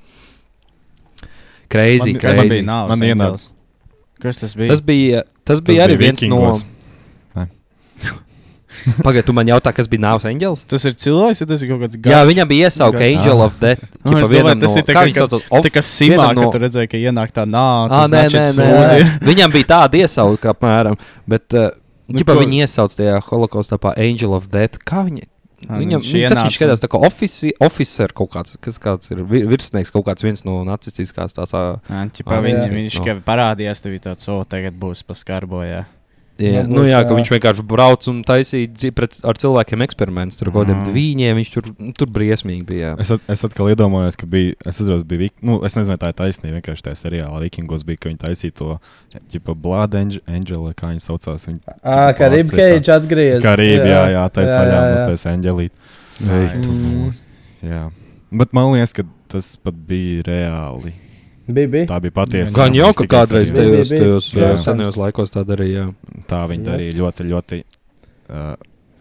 Crazy, Man- crazy. man bija- man ienāca- Kas tas bija? Tas bija, tas bija Tas arī bija viens no. Vikingos. Vai? (laughs) Pagaidiet, tu man jautā, kas bija nāves angels? Tas ir cilvēks, ja tas ir kaut kāds Gaš. Jā, viņam bija iesauka Gaš. Angel of Death. Nu, ķipa es domāju, vienam tas no- ir tā kā kā- viņš saucās? Tā kā simā, vienam no... no- ka tu redzēji, ka ienāk tā nāca. Ah, nē, nē, nē, nē. (laughs) Viņam bija tāda iesauka, apmēram. Bet, uh, Nu, ķipa, ko- viņi iesauca tajā holokaustā par Angel of Death. Kā viņa? Ah, Viņam, viņš nu, kas ienāca. viņš skatās, tā kā ofici, oficer kaut kāds, kas kāds ir vi- virsnieks, kaut kāds viens no nacistiskās tās. ā, Čipa, Ah, viņš, jā. viņš No. kā parādījās, tev bija tāds, o, tagad būs paskarbojā. Jā, Nu, nu, būs, jā, ka jā. viņš vienkārši brauc un taisīja dzi- pret, ar cilvēkiem eksperimentus. Tur kaut kādiem Mhm. dviņiem viņš tur, nu, tur briesmīgi bija. jā. Es, at, es atkal iedomājos, ka bija. Es atceros, bija. Vik, nu, es nezinu, vai tā ir taisnība. Vienkārši tajā seriālā Vikingos bija, ka viņi taisīja to ģipa Blood Ange- Angela, kā viņi saucās. Viņa, Ah, kā ribkeidž atgriezies. Karība, jā, jā, tā ir saļā mums taisa angelīte. Ei, Mm. Jā. Bet man liekas, ka tas pat bija reāli. Bija, bija. Tā bija patiesa. Gan jau, ka kādreiz Bija, bija, tajos, bija. tajos jā, Jā. senajos laikos tā darīja. jā. Tā viņi darīja Yes. ļoti, ļoti uh,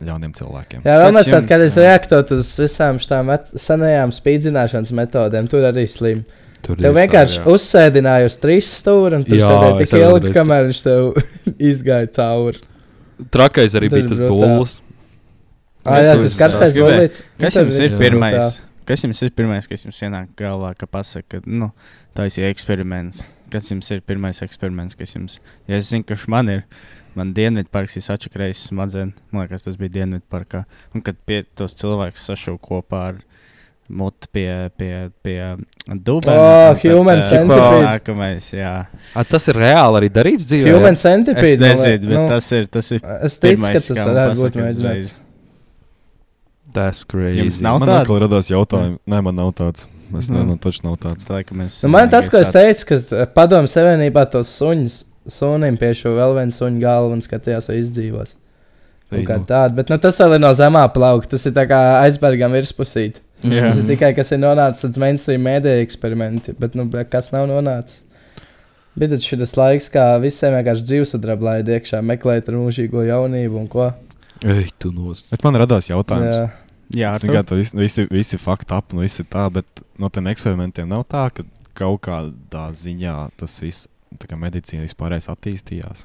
ļauniem cilvēkiem. Jā, vēl Pēc mēs jums, tādu kādreiz jā. reaktot uz visām šīm senajām spīdzināšanas metodēm. Tur arī slim. Tur Tev ir vienkārši tā, jā. uzsēdināja uz trīs stūra un tu Jā, sēdēji es tik arī ilgi, uzreiz- kamēr viņš tev (laughs) izgāja cauri. Trakais arī Tas bija tas brutā- bulls. Ah, Es jā, jau tas es- karstais es gribēju. bolīts. Kas Nu, jums tev ir viss pirmais? brutā. Kas jums ir pirmais, kas jums ienāk galvā, ka pasaka, ka, nu, taisīja eksperiments? Kas jums ir pirmais eksperiments, kas jums? Ja es zinu, kas man ir. Man Dienvidparks ir atšķirīgs smadzenes. Man liekas, tas bija Dienvidparkā. Un kad pie tos cilvēkus sašūko kopā ar mutu pie, pie, pie dubļa. Oh, human centipede. eh, Nākamais, jā. A, tas ir reāli arī darīts dzīvē. Human Es centipede. man liek- nezinu, bet nu, tas ir, tas ir Es ticu, pirmais, ka tas kā man varētu būt pasaka mēģinājums. uzreiz. Tas Jums crazy. nav Man tāda? atkal radās jautājumi. Mm. Nē, man nav tāds. Es Mhm. nezinu, man taču nav tāds. Tā, ka mēs, Nu, man eh, tas, ko es tāds- teicu, ka padomju savienībā tos suņus, sunim pie šo vēl vienu suņu galvu un skatījās, vai izdzīvos. Kaut Kā Ei, nu. tāda, bet nu, tas vēl ir no zemā plaukta. Tas ir tā kā aizbergam virspusīt. Jā. Tas ir tikai kas ir nonācis līdz mainstream mēdīju eksperimentiem, bet nu, bļa, kas nav nonācis. Bet tad šis laiks, kā visiem vienkārši dzīvesudraba laida iekšā, meklēt ar mūžīgo jaunību un ko. Ei, tu nos. Bet man radās jautājums. Jā. Jā, Zin, kā, tā visi, visi, visi fakti ap, un visi tā, bet no tiem eksperimentiem nav tā, ka kaut kādā ziņā tas viss, tā kā medicīna vispārējais attīstījās.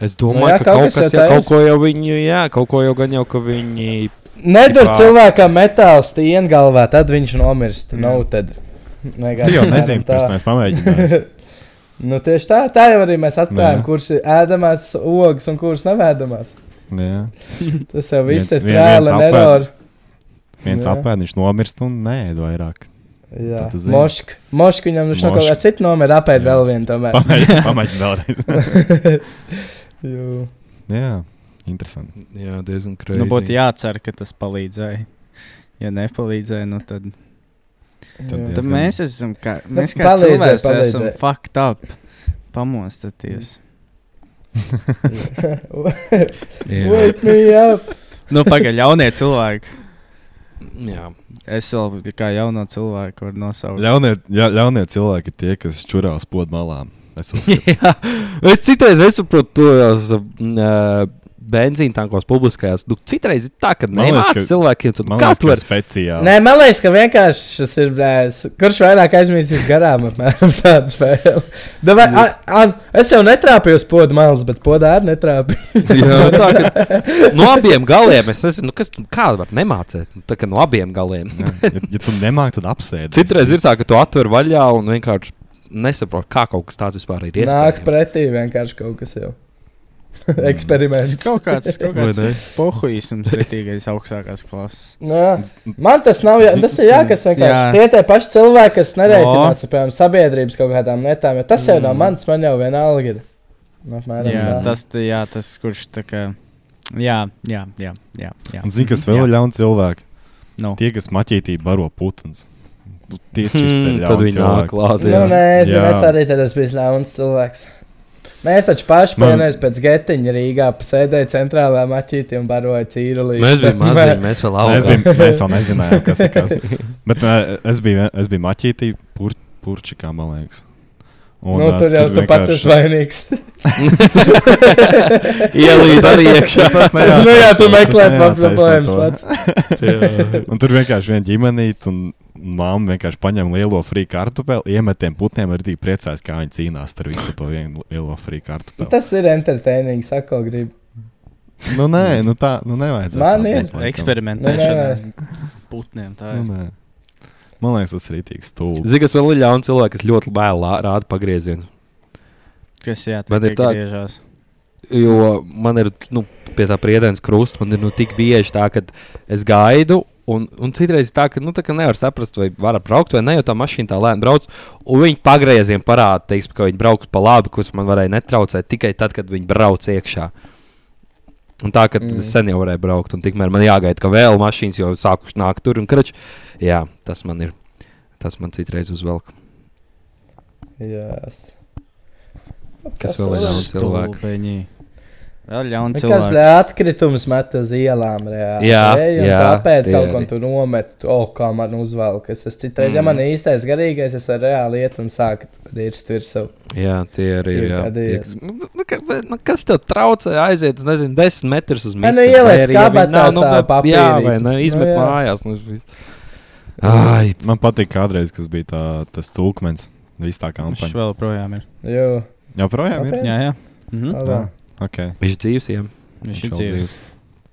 Es Nu, jā, domāju, ka kaut kaut kas kas, jau jā, tā ir. kaut ko jau viņi, jā, kaut ko jau gan jau, ka viņi. Nedur Tipā- cilvēkam metāls stien galvā, tad viņš nomirst. Jā. Nav tad. Vienkārši Tu jau apmēram nezini, tā. pirms tam (laughs) es pamēģināju. nu, tieši tā, tā jau arī mēs atklājām, Nē. kurš ir ēdamās ogas un kurš nav ēdamās. Jā. Tas jau viss Viens- ir vien- trial viens and apēd. error. Viens Jā. apēd, viņš nomirst un nē, vairāk. Jā, Tad tu zini. mošk, mošk viņam viņš no kaut kā Mošk. cita nomira apēd Jā. vēl vienu tomēr. (laughs) Pamēģināju vēlreiz. Jū. Jā, interesanti. Jā, diezgan crazy. Nu, būtu jācer, ka tas palīdzēja. Ja nepalīdzēja, nu tad, Tad Jā. (laughs) tad diezgan- mēs esam kā, mēs kā palīdzēja, cilvēks esam palīdzēja. fucked up. Pamostaties. Jā, Wake me up! nu, pagaidi, (laughs) jaunie cilvēki. jā. Es vēl kā jauno cilvēku varu nosaukt. Ļaunie, jā, ļaunie cilvēki ir tie, kas čurās pod malām. Es uzskatu, (laughs) Jā, es citreiz nesaprotu tos uh, benzīna tankos publiskajās. Nu, citreiz ir tā, ka Man liekas, nemāc ka- cilvēkiem, tad man liekas, kāds ka var. speciāli. Nē, man liekas, ka vienkārši šis ir brālis. Kurš vairāk aizmirsīs garām? Apmēram tāda spēle. Davai, a, a, es jau netrāpīju uz podu malas, bet podā arī netrāpīju. Jā, (laughs) Nu, tā, ka, no abiem galiem es nezinu, nu, kas kāda var nemācīt. Nu, tā kā no abiem galiem. Jā. Ja, ja tu nemāki, tad apsēdi. Citreiz ir tā, ka tu atver vaļā un vienkārši nesaproti, kā kaut kas tāds vispār ir Nāk iespējams. pretī vienkārši kaut kas jau. (laughs) Eksperiments. Kaut kāds, kaut kāds Vai ne? pohuisms, rītīgais augstākās klases. Nā, man tas nav, jā, tas ir jā, kas vienkārši. Jā. Tie tie paši cilvēki, kas nereitinās, piemēram, sabiedrības kaut kādām lietām, jo tas jau nav Mm. mans, man jau vienalga ir. Nu, apmēram Jā, tā. tas, jā, tas, kurš tā kā. Jā, jā, jā. jā, jā. Un zini, kas vēl ir ļauni cilvēki? Nu. Tie, kas maķītī baro putns. Nu, (laughs) Tie Hmm, čistē tad viņi nāk klāt. Nu, jā. nē, es, Jā. es arī tad esmu bijis ļauns cilvēks. Mēs taču paši Man- pēdējais pēc getiņa Rīgā sēdējām centrālajā mačītī un baroja cīrulī. Mēs bijām mazi, mēs vēl Mēs, augām. bija, mēs vēl nezinājām, kas uh, ir kas. Bet mē, es biju, es biju maķītī, pur, purčikā, man liekas. Un, Nu, ā, tur jau tu pats esi vienkārši- vainīgs. (laughs) Ielīd arī iekšā. Tas nejautais Nu jā, tu to, meklē tas nejautais paplapojumus to. pats. (laughs) Un tur vienkārši viena ģimenīte un mamma vienkārši paņem lielo frīķu kartupeli, iemet tiem putniem, arī tik priecājas, kā viņi cīnās ar visu to vienu lielo frīķu Nu, kartupeli. Tas ir entertaining, sako, gribi. Nu, nē, nu tā, nu nevajadzētu. Man tā ir teikt, laikam. Nu, Nu, Eksperimentēšana ar putniem. Tā Nu, ir. nē. Man liekas, tas ir rītīgi stulbi. Zigas vēl ir ļauns cilvēks, kas ļoti vēl rāda pagriezienu. Kas jā, Man tad ir ir tā- griežās. Jo man ir nu, pie tā priedēnas krusta, man ir nu, tik bieži tā, ka es gaidu. Un, un citreiz ir tā, ka, nu, tā, ka nevar saprast, vai var braukt vai nē, jo tā mašīna tā lēni brauc. Un viņi pagriezienā parāda, teiksim, ka viņi brauks pa labi, kurš man varēja netraucēt tikai tad, kad viņi brauc iekšā. Un tā, ka Mm. mm. sen jau varēja braukt, un tikmēr man jāgaida, ka vēl mašīnas jau sākušas nākt tur un krač. Jā, tas man ir. Tas man citreiz uzvelk. Jās. Kas vēl ir ļauns cilvēks? Stulbeņi. Vēl ļaun Kas cilvēki. bija atkritumis met uz ielām? Reāli, Jā, Ej, un jā, tāpēc tie kaut ko arī. tur nomet. O, oh, kā man uzvelkas. Es citreiz, mm. ja Mm. man ir īstais garīgais, es varu reāli iet un sākt dirzt virsū. Jā, tie arī ir. Ir Jā, kādi tie, iet. kas- nu, nu, ka- bet, nu, kas tev traucē aiziet, es nezinu, desmit metrus uz Vai mēnesi? nu ieliec kabatā savā nu, papīrī? Jā, vai ne, Nu, izmet jā. nu, mājās. Nu, viss. Ai, Man patīk kādreiz, kas bija tā, tas cūkmens. Viss tā Viņš kampaņa. vēl projām ir. Jo, Jā, projām ir. Kāpēc? Jā, jā. Mm. Mhm. alā. Ah, Okay. viņš dzīvs jau. Viņš ir vēl (laughs) dzīves.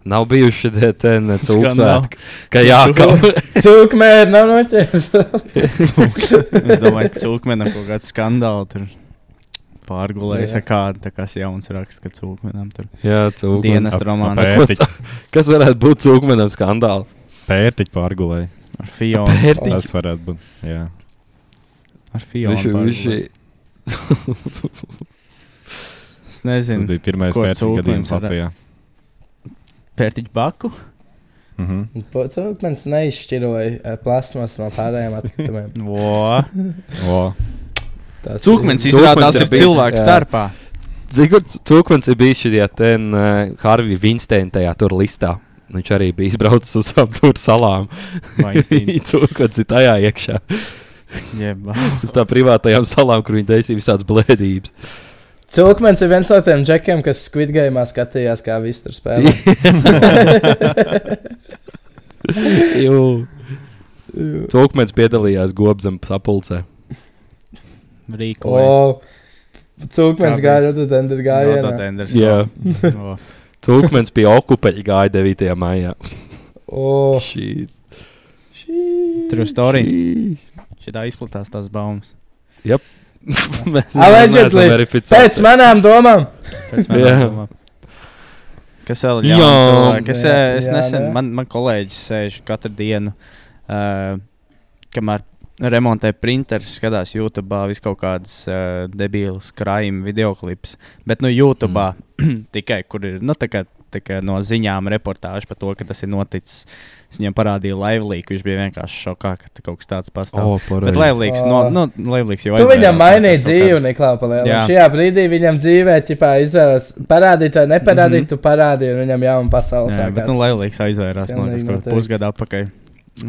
Nav bijuši šie te Skandāli. cūksvētki. Ka jā, ka... Cūkmēri nav noķēris. Es domāju, ka cūkmenam kaut kāds skandāls tur pārgulējis. Jā. ar Kādu tā kā jauns raksts, ka cūkmenam tur jā cūkmenis. dienas ap- romāns apēd. Pērtiķi. Kas varētu būt cūkmenim skandāls? Pērtiķi pārgulēja. ar Fionu. Pērtiķi. Tas varētu būt. Jā, Ar Viņš Fionu. pārgulēja. ir. Es tas nezinu, bija pirmais ko pērtiķa cūkmens gadījums varētu- Latvijā. pērtiķu baku. Mhm. Po- Cūkmens neizšķiroja eh, plasmas no pārējiem (laughs) atkritumiem. Vo. O, Tas Cūkmens Cūkmens izrādās ir ir bijis, cilvēks jā. starpā. Cūkmenis ir bijis šajā te uh, Harvija Vinsteina tajā tur listā. Viņš arī bija izbraucis uz savām tur salām. (laughs) Vaistīni. Cūkmenis ir tajā iekšā. Jebā. Uz tā privātajām salām, kur viņi taisīja visādas (laughs) blēdības. Cūkmens ir viens no tiem džekiem, kas Squid Game skatījās, kā viss tur (laughs) spēlē. (laughs) Cūkmenis piedalījās gobzem sapulcē. Rīko. O, Cūkmens Kā gāja ļoti dendri gājienā. tenders. Jā. O. Cūkmenis pie okupeļa gāja 9. maijā. O, Šī- Oh. True story. šī- (laughs) Šitā izplatās tās (laughs) baumas. Mēs Allegedly. neesam verificēti. Pēc manām domām! Pēc Jā. manām domām. Kas vēl ir Jā. jāsaka? Es, Jā, eh, es jā, nesen, nē. man, man kolēģis sēž katru dienu, uh, kamēr remontē printers, skatās YouTube, vis kaut kādas uh, debīlas krājuma video klips. Bet, nu, YouTube mm. (clears throat) tikai kur ir nu, tā kā, tā kā no ziņām reportāža par to, ka tas ir noticis. Es viņam parādīju laivlīku, viņš bija vienkārši šokā, ka te kaut kas tāds pastāv. Oh, O, pareizi. Bet laivlīks, no, Ā. no, laivlīks jau Tu viņam aizvērās, mainīji kaut kā- dzīvi, neklāpa lielā. Jā. Šajā brīdī viņam dzīvē, tipā, izvēlas parādīt vai neparādīt, mm -hmm. tu parādīji, un viņam jauna pasaules Mhm. Jā, bet nu, sākās. Latvijas aizvērās man liekas, Pilnīgi kaut noteikti. Mm. kādā pusgadā atpakaļ.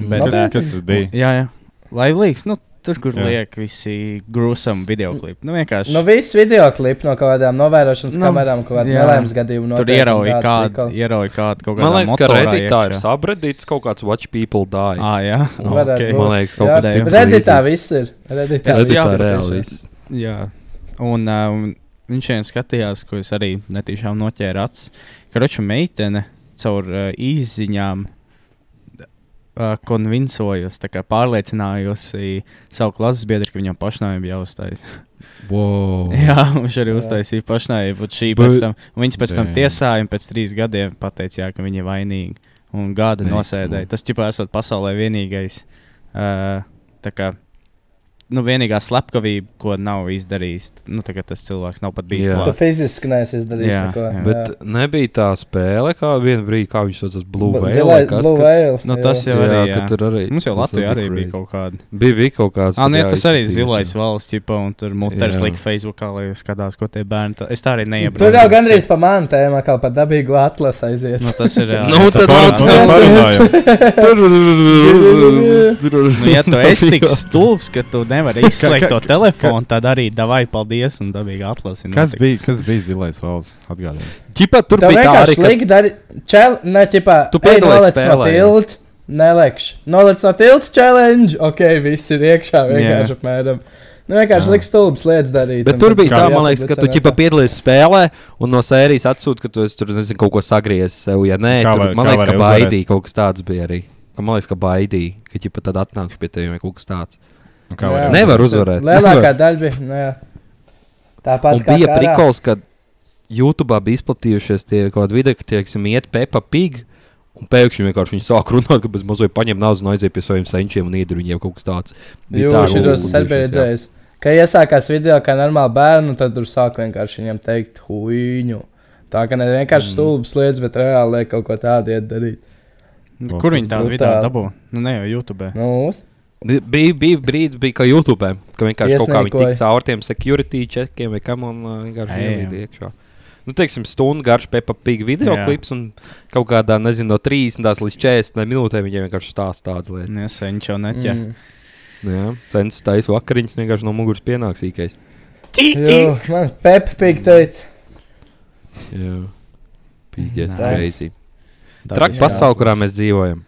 Bet, kas, Labi. kas tas bija? jā, jā. Latvijas, nu, tur, kur Jā. liek visi grūsami video klipi. Nu, vienkārši Nu, viss video klips no kaut kādām novērošanas Nu, kamerām, kaut kāda jā. nelaimes gadījuma. tur noteikumi, ierauja kādi kādu, prikoli. ierauja kādu kaut kādu. Man liekas, ka Redditā ir subreddits kaut kāds Watch People Die. Ah, jā, Varētu okay. būt. Man liekas, kaut Jā, kas Redditā tāds. Redditā viss ir. Redditā Es- viss jā, Redditā ir reāli tiešām. viss. Jā, un um, viņš šodien skatījās, ko es arī netīšām noķēru acis. Kroča meitene caur uh, izziņām uh, konvincojos, tā kā pārliecinājusi savu klases biedru, ka viņam pašnāvība jāuztais. Wow. Jā, viņš arī Jā. uztaisīja pašnāvību. un Šī Bet- pēc tam, un viņas pēc tam Damn. tiesāja, un pēc trīs gadiem pateica, jā, ka viņa ir vainīga. Un gada Neicam. nosēdēja. Tas, ķipā, esot pasaulē vienīgais. Uh, tā kā nu, vienīgā slepkavība, ko nav izdarījis, nu, tā kā tas cilvēks nav pat bijis Jā. Tu klāts. fiziski neesi Jā, izdarījis neko. jā. Bet nebija tā spēle, kā vienā brīdī, kā viņš saucās Blue Bet Whale. vai zilais kas, Blue ka- Whale. Nu, jā. tas jau Jā, jā, ka jā. tur arī. Mums jau tas Latvijā arī crazy. bija kaut kāda. Bija, bija kaut kāds. Ah, nē, jā, tas arī izplatījums, zilais jā. (laughs) valsts, ķipa, un tur mutērs Jā. lika Facebookā, lai skatās, ko tie bērni. tā- Es tā arī Tur neiebraucu. jau gandrīz pa manu tēmu, kā par dabīgu atlasu aiziet. Nu, (laughs) tas ir. jā. Nu, tad Par- nāc nu, vēl. (laughs) parunājam. Nu, (laughs) Nu, ja tu esi tik stulbs, ka tu ne, nevar izslēgt ka- to ka- telefonu, tad arī davai paldies un dabīgi atlasīt. Kas bija, kas bija zilais valsts? Atgādājiet. Ķipa, tur Tev bija tā vienkārši arī, ka slikti dari. Čel, ne, ķipā, Tu ej, piedalies nolec no spēlē, jā. tilta. Neliekš. Nolec no tilta challenge. Ok, viss ir iekšā vienkārši Jā. yeah. apmēram. Nu, vienkārši Jā. liks stulbas lietas darīt. Bet un tur bija tad tā, jāpublicē man liekas, ka tu vienkārši. ķipa piedalies spēlē un no sērijas atsūti, ka tu esi tur nezinu, kaut ko sagriezis sev. Ja nē, Kā tur, var- man kā liekas, ka varēja uzvarēt? baidīja kaut kas tāds bija arī. Ka man liekas, ka baidīja, ka ķipa tad atnākšu pie tevis vai kaut kas tāds. Nu, kā Jā. varēja? Nevar uzvarēt. Lielākā Nevar. daļa bija. Nu, jā. Tāpat Un bija prikals, ka YouTube bija izplatījušies tie kaut kādi video, ka tieksim iet Peppa Pig. Un pēkšņi vienkārši viņi sāk runāt, ka bez mazliet paņem naudu un aiziet pie saviem senčiem un iedod viņiem kaut kas tāds. Bija tā, Jūs esat lūgušies, jā. saredzējis. Kad iesākās video, kā normāli bērnu, tad tur sāk vienkārši viņam teikt, huīņu. Tā kā ne Mm. vienkārši stulbas lietas, bet reāli liek kaut ko tādu iet darīt. Nu, Kur viņi Tas tādu video brutāli. dabū? Nu, ne jau YouTube. Nu, uz- Di- Bija, bija brīdis, bija kā YouTube, ka vienkārši kaut kā viņi Iesniekoja. tika caur tiem security čekiem vai kam un uh, vienkārši Ejam. ielīd iekšā. Nu, teiksim, stundu garš Peppa Pig video Jā. klips un kaut kādā, nezinu, no 30 līdz 40 minūtēm viņiem vienkārši stāsta tādas lietas. Nē, sen jau neķer. Mm. Nu, jā, sens tais vakariņas vienkārši no muguras pienāks īkais. Jū, Man Peppa Pig teica, Jā, pīķies Nice. reizi. Tā Traks viss pasauli, jāatlas. kurā mēs dzīvojam.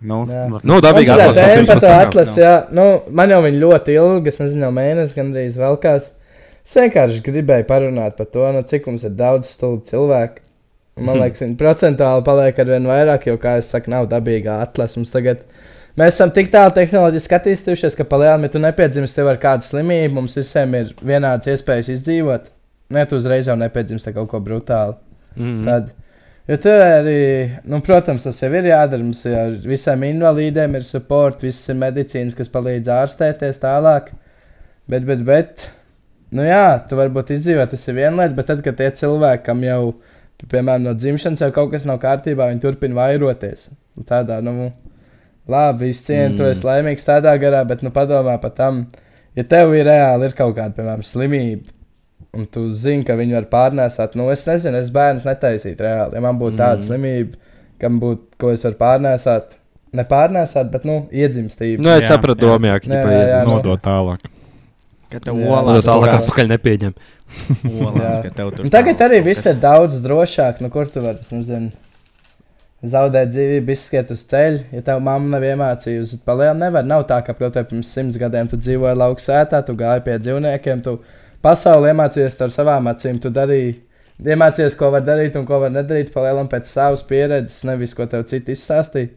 Nu, Jā. labi. Nu, dabīgi Man šitā atlases, kas jums tēma par to pasaka? atlases, jā. Nu, man jau viņa ļoti ilgi, es nezinu, jau mēnesis gandrīz velkās. Es vienkārši gribēju parunāt par to, nu, cik mums ir daudz stulbu cilvēku. Un Man liekas, viņi procentuāli paliek ar vien vairāk, jo, kā es saku, nav dabīgā atlase mums tagad. Mēs esam tik tālu tehnoloģiski attīstījušies, ka palielinām, ja tu nepiedzimsti tev ar kādu slimību, mums visiem ir vienāds iespējas izdzīvot. Nē, tu uzreiz jau nepiedzimsti ar kaut ko brutālu. Mm. Tad, jo tur arī, nu, protams, tas jau ir jādara. Mums jau ir visiem invalīdiem ir support, visas ir medicīnas, kas palīdz ārstēties tālāk. Bet, bet, bet, nu jā, tu varbūt izdzīvo, tas ir viena lieta, bet tad, kad tie cilvēkam jau, piemēram, no dzimšanas jau kaut kas nav kārtībā, viņi turpina vairoties. Un Tādā, nu, labi, es cienu, mm. tu Mm. esi laimīgs tādā garā, bet, nu, padomā par tam, ja tev ir reāli ir kaut kāda, piemēram, slimība. Un tu zini, ka viņi var pārnēsāt. Nu, es nezinu, es bērnu netaisītu reāli. Ja man būtu mm. tāda Mm. slimība, kam būtu, ko es varu pārnēsāt, ne pārnēsāt, bet, nu, iedzimstība. Nu, es Jā, sapratu, jā. domāju, ka Nē, ķipa jā, iet. jā, nu. (laughs) Nodot tālāk. Ka tev Jā. Nu, olās tālāk jā. atpakaļ nepieņem. Olās, Jā. ka tev tur Un tagad tā- arī kaut viss kas- ir daudz drošāk. Nu, kur tu vari es nezinu, zaudēt dzīvību, izskriet uz ceļa? Ja tev mamma nav iemācījusi, palielināti nevar. Nav tā, ka protams, pirms simts gadiem tu dzīvoji lauksētā, tu gāji pie dzīvniekiem, tu pasauli iemācījies ar savām acīm, tu darīji. Iemācījies, ko var darīt un ko var nedarīt, palielināt pēc savas pieredzes, nevis ko tev citi izstāstīja.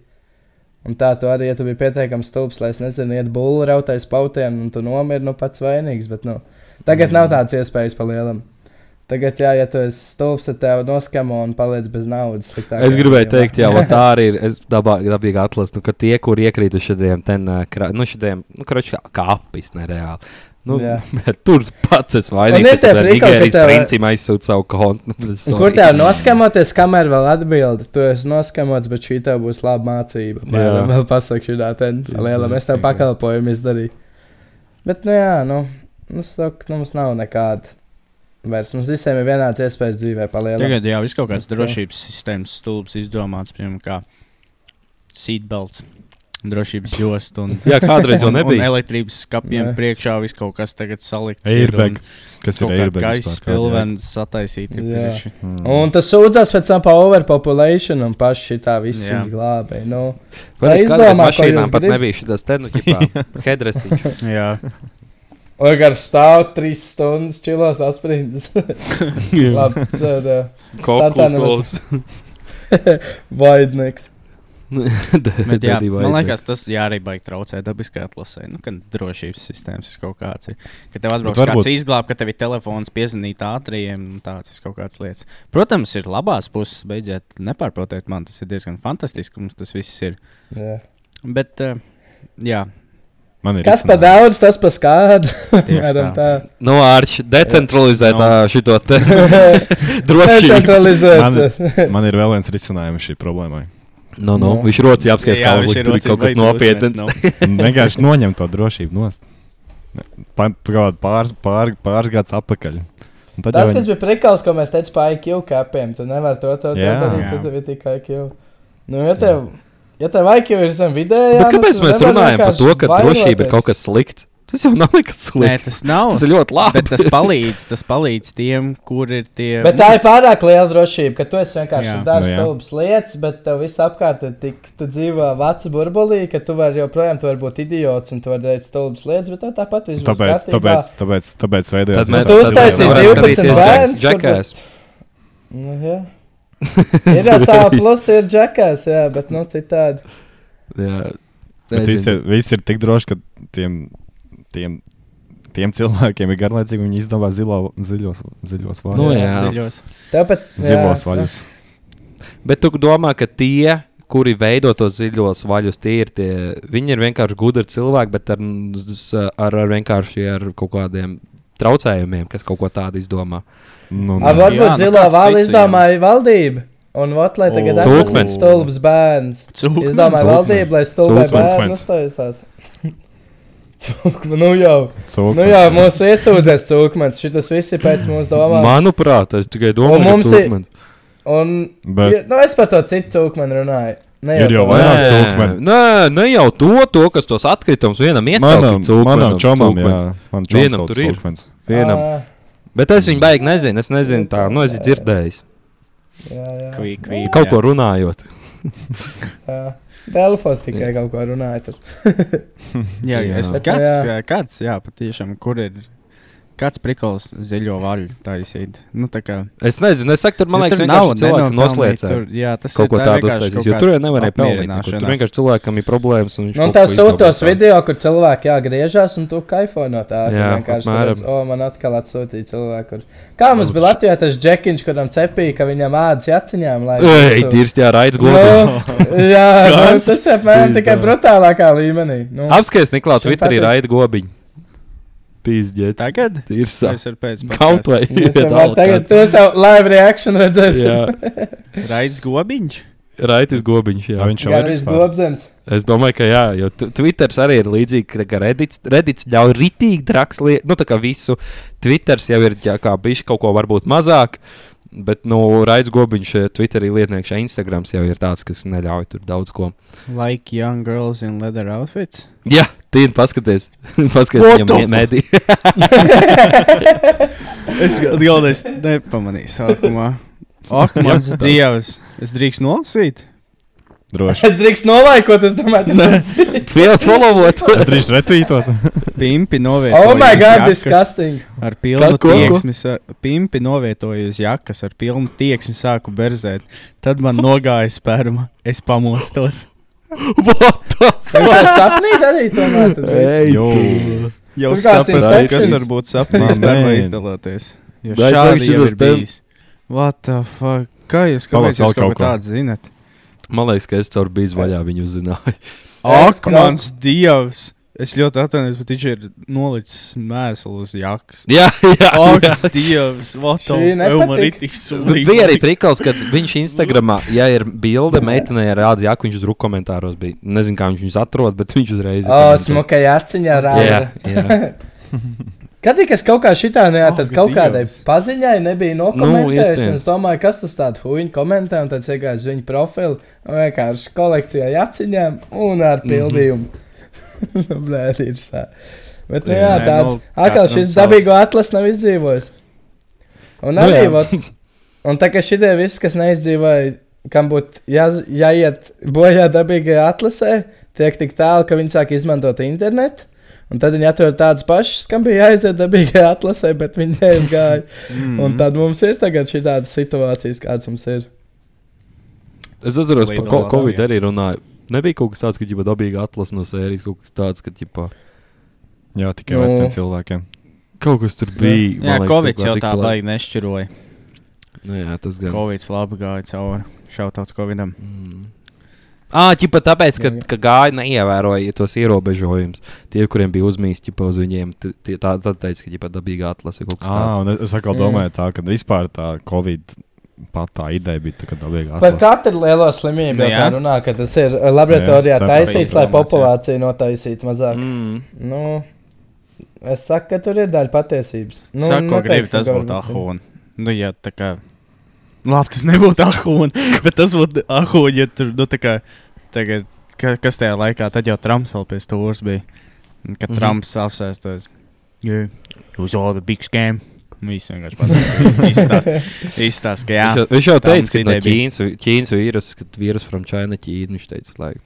Un tā tu arī, ja tu biji pietiekami stulbs, lai es nezinu, iet būlu rautais pautiem, un tu nomiri, nu pats vainīgs. Bet, nu, tagad mm. nav tādas iespējas palielināt. Tagad, jā, ja tu esi stulbs, tad tev noskamo un paliec bez naudas. sliktāk Es gribēju gadījumā. teikt, jā, vot tā arī ir. Es dabā, dabīgi atlasu, nu, ka tie, kur iekrīt uz šādiem, ten, ā, krā- nu, šādiem, nu, kroči, kā- kā apis nereāli. Nu, Jā. (laughs) tur pats es Un ir vainīgs, tie ka prikoli, ka Nigērijas tev- princim aizsūta savu kontu. (laughs) Un Kur tev noskamoties, kamēr vēl atbildi? Tu esi noskamots, bet šī tev būs laba mācība. Jā, Jā. vēl pasakšu, tā ten liela, mēs tev pakalpojumu izdarījām. Bet, nu jā, nu, nu, saka, nu mums nav nekāda. Vairs mums visiem ir vienāds iespējas dzīvē palielināt. Tagad jau viss kaut kāds Tā. drošības sistēmas stulbs izdomāts, piemēram, kā seatbelts, drošības josta un, Jā, kādreiz jau (laughs) un, un nebija. elektrības skapiem Nē. priekšā viss kaut kas tagad salikts. ir un Airbag. Kas ir Kaut kā airbag? gaisa vispār, kādi ir? spilvenis sataisīt. ir Jā. (laughs) bijuši. Mm. Un tas sūdzās pēc tam par overpopulation un paši tā visi Jā. viņas glābēja. Nu, Vai Lai es kādreiz izdomā, ko mašīnām jūs pat grib. nebija šis te, nu, (laughs) ķipā, hedrestiņš. Jā, Vai gar stāv trīs stundas čilos aspirīnas. (laughs) Labi, tad eh, uh, Startā Kokuls nemaz- tos. (laughs) vaidnieks. (laughs) bet jā, man liekas, tas jā, arī baigi traucē dabiskā atlasē. Nu, kad drošības sistēmas ir kaut kāds. Ir. Kad tev atbrauc varbūt... varbūt- kāds izglābt, ka tev ir telefons piezvanīt ātriem un tādas ir kaut kādas lietas. Protams, ir labās puses, beidziet, nepārprotiet man, tas ir diezgan fantastiski, ka mums tas viss ir. Jā. Bet, eh, (laughs) jā, Man ir Kas pa daudz, risinājums. tas pa skādu. tieši Mēram tā. tā. Nu, ārš, decentralizēt Jā. ā, šito te (laughs) drošību. Decentralizēt. (laughs) Man ir vēl viens risinājums šī problēmai. Nu, nu, Nu. viņš rocis apskatās, kā Jā, viņš uzlikt ir tur ir rocība, kaut kas baigi drošs, nopietns. (laughs) viens nav. Un Vienkārši noņem to drošību nost. Pa- Pagaid, pāris, pāris, pāris gadus atpakaļ. Un Tas, Tad jau kas viņi bija prikals, ko mēs teicām par IQ kapiem, tu nevari to to to Jā. darīt, Jā. tad tev ir tikai IQ. Nu, ja tev, ja tev IQ ir zem vidējā, Bet nu, kāpēc tu mēs nevari runājam par vienkārši to, ka drošība ir vairoties. kaut kas slikts? Tas jau nav nekas Nē, slikts. tas nav. Tas ir ļoti labi. Bet tas palīdz, tas palīdz tiem, kur ir tie. Bet tā ir pārāk liela drošība, ka tu esi vienkārši Jā. Nu, dārsts, jā. stulbs lietas, bet tev viss apkārt ir tik, tu dzīvo vācu burbulī, ka tu vari joprojām tu vari būt idiots un tu vari darīt stulbas lietas, bet tev tāpat viss būs Tāpēc, kārtībā. tāpēc, tāpēc, tāpēc veidojās. mēs- tas- Tu Tad uztaisīsi nevaram 12 skatīties bērnus. Jackass- kur būs- Jackass. Nu, jā. ir jau sava plusa, ir džekās, jā, bet nu citādi. (laughs) Jā, Bet viss ir, viss ir tik droši, ka tiem, tiem, tiem cilvēkiem ir garlaicīgi, viņi izdevā zilo, ziļos, ziļos vārdus. Nu, jā. Ziļos. Tāpat Zilos vaļus. Bet tu domā, ka tie, kuri veido tos ziļos vaļus, tie ir tie, viņi ir vienkārši gudri cilvēki, bet ar, s- ar, ar vienkārši ar kaut kādiem traucējumiem, kas kaut ko tādu izdomā. A, Nu, nē. Jā, nu varbūt zilā kāds vāla cits, jā. izdomāja valdība. Un vat, lai tagad O. atrastu Cūkmens. stulbs bērns. Cūkmens. Izdomāja Cūkmens. valdība, lai stulbē Cūkmens. bērnu uztaisās. (laughs) Cūkmens, nu jau. Cūku. Nu jau, mūsu iesūdzēs cūkmens. Šitas viss ir pēc mūsu domām. Manuprāt, es tikai Un domāju, ka mums tas ir- ir mans. Un, Bet ja- nu es par to citu cūkmenu runāju. Ne Ir jau to. vairāk. cūkmeni. nē, ne jau to, to kas tos atkritumus vienam manam, iesaistīt. manam čomam, jā, man Vienam čomam tur ir. Vienam. Ā, Bet es viņu baigi nezinu. Es nezinu, tā, nu, es dzirdēju. Jā, jā. Kvī, kvī, Kaut ko runājot. jā. Delfos tikai kaut ko runāja. tur. Jā, jā. Es, Bet, kāds, jā. jā. kāds, jā, patiešām, kur ir. Kāds prikols ziļo vaļu taisīt? Nu, tā kā. Es nezinu, es saku, tur man jo liekas, tur vienkārši cilvēks nenopelnīt, noslēdzās. tur- Jā, tas kaut ir ko tā tādu vienkārši uztaisīt. kaut Jo kāda (laughs) tur jau nevarēja pelnīt. neko. Tur apmierināšanās. vienkārši cilvēkam ir problēmas. un viņš Nu, kaut un tev ko izdomā sūtos tādu. video, kur cilvēki jā, griežās, un tu kaifo no tā. ka Jā, vienkārši apmēram. redz, o, man atkal atsūtīja cilvēku. Kur... Kā mums Lūdzu. bija Latvijā tas džekiņš, kuram cepīja, ka viņam ādas jaciņām lai. Ei, visu- tīrs, jā, raids Nu, gudrs. jā, nu, Kas? tas ir apmēram Tieši tikai tā. brutālākā līmenī. Nu, Apskaties, Niklaus, Šim Twitterī tātad- raid gobiņu. Pīzdiet. (laughs) Tagad? Tīrs. Tas ir pēc Kaut vai nu, tev var iedala tagad kādu. tu uz tev live reaction redzēsi. Jā, Raids gobiņš. raidis gobiņš, jā. Viņš jau Gan ir arī vispār. gobzems. (laughs) Es domāju, ka jā, jo tu- Twitters arī ir līdzīgs. Tā kā Reddits, Reddits ļauj ritīgi draks lietas, nu tā kā visu. Twitters jau ir jā, kā bijis kaut ko varbūt mazāk. Bet, nu, Raids Gobiņš, eh, Twitterī lietnieks, Instagrams jau ir tāds, kas neļauj tur daudz ko. Like young girls in leather outfits. Jā, tīri paskaties, (laughs) What paskaties, the viņam mēdī. (laughs) (laughs) Es galvenais nepamanīju (laughs) sākumā. Ak, mans dievs, es drīkst nolasīt. (laughs) Droši. Es drīkst nolaikot, es domāju, tas ir. Vēl (laughs) followot. Drīz retvītot. Pimpi novietojis. Oh my god, jakas disgusting. Ar pilnu Kā, ko, ko? tieksmi. sā- Pimpi novietojis uz jakas, ar pilnu tieksmi sāku berzēt. Tad man nogāja sperma. Es pamostos. What the? Viņš jau sapnī darīja tomēr. tad viss. Jū. (laughs) Jau Tur kāds sapratu, kas inceptions. var būt sapnis, Man sperma mēģina. izdaloties. Jo Vai šādi sākšu jau ir tas tev? bijis. What the fuck? Kā jūs Pavas kāpēc jūs vēl kaut kaut ko ko. tādu zinat? Man liekas, ka es caur bīzu vaļā viņu uzzināju. Es Ak, kā- mans dievs! Es ļoti atvainojos, bet viņš ir nolicis mēslu uz (laughs) jakas. Jā, jā. Ak, jā. dievs! Vato, Šī nepatika. man ir tik Bet sūdīgi. bija arī prikals, ka viņš Instagramā, ja ir bilde meitenei ar rādu jaku, viņš uzrūk komentāros bija. Nezinu, kā viņš viņus atrod, bet viņš uzreiz. O, smukai aciņā rāda. Jā, jā. Kad tik es kaut kā šitā Ak, neatradu, oh, kaut kādai Dievs. paziņai nebija nokomentējis, un iespējams. es domāju, kas tas tāds huīņa komentē, un tad iegāju uz viņa profilu, un vienkārši kolekcijā jaciņām un ar pildījumu. (laughs) Mm -hmm. Blē, ir sā. Bet, nu jā, Nē, tāds, nu, atkal katram šis savs. dabīgo atlas nav izdzīvojis. Un Nu arī, jā. vot, un tā kā šitie visi, kas neizdzīvoja, kam būtu jā, jāiet bojā dabīgajā atlasē, tiek tik tālu, ka viņi sāk izmantot internetu. Un tad viņi atrod tādas pašas, kam bija jāiziet dabīgajā atlasē, bet viņi neizgāja. Mm. Mhm. Un tad mums ir tagad šī tāda situācija, kāds mums ir. Es atceros, ka Lido ko, labāk, Covid jā. arī runāja. Nebija kaut kas tāds, ka jau dabīgi atlases no sērijas, kaut kas tāds, ka ģipa, Jā, tikai Nu. veciem cilvēkiem. kaut kas tur bija. Jā, man liekas, Covid kaut kā jau cik tā pala- baigi nešķiroja. Nu, jā, tas gan. Covid labi gāja cauri. Šautauts Covidam. Mm. Ah, ķipa, tāpēc, ka, Jā, jā. ka gāja neievēroja tos ierobežojumus. Tie, kuriem bija uzmīsts, ķipa, uz viņiem, t- tie tā, tā teica, ka ģipa, dabīga atlase ir kaut kas tāds. Ah, un es atkal Mm. domāju tā, ka vispār tā Covid pat tā ideja bija tā, ka dabīga Par atlasīt. katru lielo slimību Nu jau tā jā. runā, ka tas ir eh, laboratorijā Jā, jā, taisīts, lai sapratu. populācija notaisītu mazāk. Mm. Mm. Nu, es saku, ka tur ir daļa patiesības. Nu, Nu, Sako, gribi noteikti, tas ka būtu varbūt- ahūna. Nu, jā, tā kā. Labi, tas (laughs) nebūtu ahūna, bet tas būtu ahūna, ja tur, nu, tā kā. Tagad, ka, kas tajā laikā, tad jau Trumps vēl pie stūres bija. Un Kad Mhm. mm -hmm. Trumps apsēstos, yeah. uz all the big scam. Viņš vienkārši pasakīja, izstāst, ka jā. Viņš jau, viņš jau tā mums teica, ka no ideja bija. Ķīnas, Ķīnas vīrusu, kad vīrusu from China Ķīna, viņš teica, like,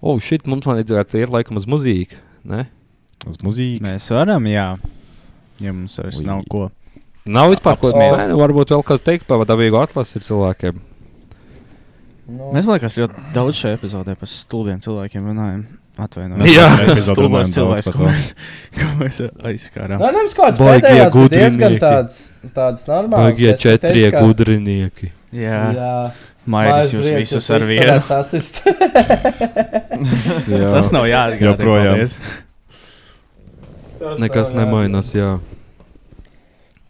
oh, šit mums man iedzērt ir laikam uz muzīku. Ne? Uz muzīku. Mēs varam, jā. Ja mums vairs Ui. nav ko. Nav vispār ko Apsmēlu. tādu. nu, Varbūt vēl kāds teikt par dabīgu atlasu ir cilvēkiem. Nu, Mēs, man liekas, ļoti daudz šajā epizodē par stulbiem cilvēkiem runājam. Atvainojiet, Jā. tas ir Epizodē stulbais runājam daudz cilvēks, par ko to. mēs, ko mēs aizskārām. Nē, nē, mums kaut kāds Baigie pēdējais bija diezgan gudrinieki. tāds, tāds normāls. Bagie kas te četrie teica, ka- gudrinieki. (laughs) Jā, Jā, Mairis jūs visus ar vienu. (laughs) Jā, Tas nav jāatgādina. Joprojām. paldies. nekas nemainās. Jā.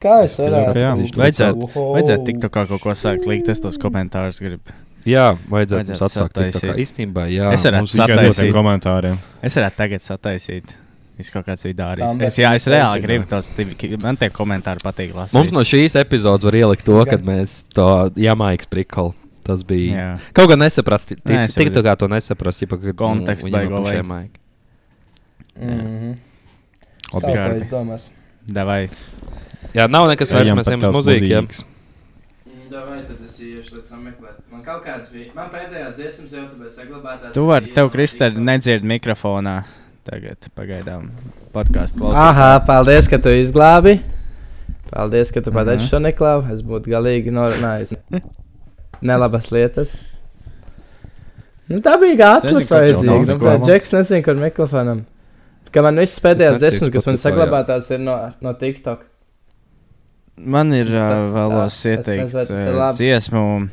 Kā es varētu? Jā, vajadzētu. Oho. Vajadzētu tikt kā kaut ko sākt likt, es tos komentārus gribu. jā, vajadzētu Vajadzētu mums atsākt to sataisīt. īstenībā. Jā, Es varētu mums Tikai no Sataisīt. tiem komentāriem. Es varētu tagad sataisīt. Es kaut kāds video arī. Tam Es, mēs jā, es reāli taisīsim. gribu tos, divi- man tie komentāri patīk lasīt. Mums no šīs epizodes var ielikt to, Gan. kad mēs to jāmājas prikolu. Tas bija. Jā. Jā. Kaut kā nesaprast, tik, Nē, es tik tā saprotu. kā to nesaprast, ja pagaidām Konteksts baigo vajag. Mhm. Labi, Savu, ko Kārli. es domās. Davai. Jā, nav nekas vairs, Ejam mēs pat ejam uz tās muziku. jā. muzīkas. Mm, Davai, tad es iešu, lai sameklētu. Man kaut kāds bija. Man pēdējās dziesmas jau tāpēc saglabātās. Tu vari, tev, Kristēn, nedzird mikrofonā. Tagad, pagaidām, podkāstu klausīties. Aha, paldies, ka tu izglābi. Paldies, ka tu Mhm. pateici šo neklāvu. Es būtu galīgi norunājis nelabas lietas. Nu, tā bija kā Es atlas nezinu, kur Džons vajadzīga. Nu, tā neklāvo. Džeks nezinu, kur mikrofonam. Ka man viss pēdējās Es neticu desmit, kas man Spotify, jā. saglabātās, ir no, no TikTok. Man ir uh, Nu, Tas- vēlos tā, tas ieteikt nezvērts, ir uh, labi. dziesmu.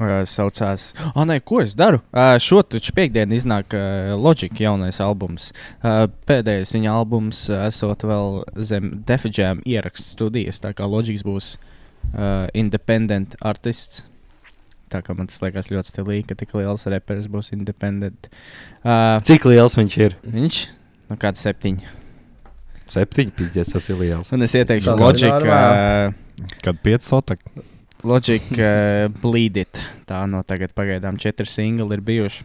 Uh, saucās, ah, nē, ko es daru? Uh, šo taču piekdienu iznāk uh, Logic jaunais albums. Uh, pēdējais viņa albums uh, esot vēl zem Defigēm ieraksts studijas, tā kā Logic būs uh, independent artists. Tā kā man tas liekas ļoti stilīgi, ka tik liels reperis būs independent. Uh, Cik liels viņš ir? viņš, nu kāds septiņi. Septiņi pizdies, tas ir liels. Un es Tas ieteikšu ir Logic. normāli. Uh, Kad 5 sotak. Logic (laughs) uh, Bleed It. Tā no tagad pagaidām četri singli ir bijuši.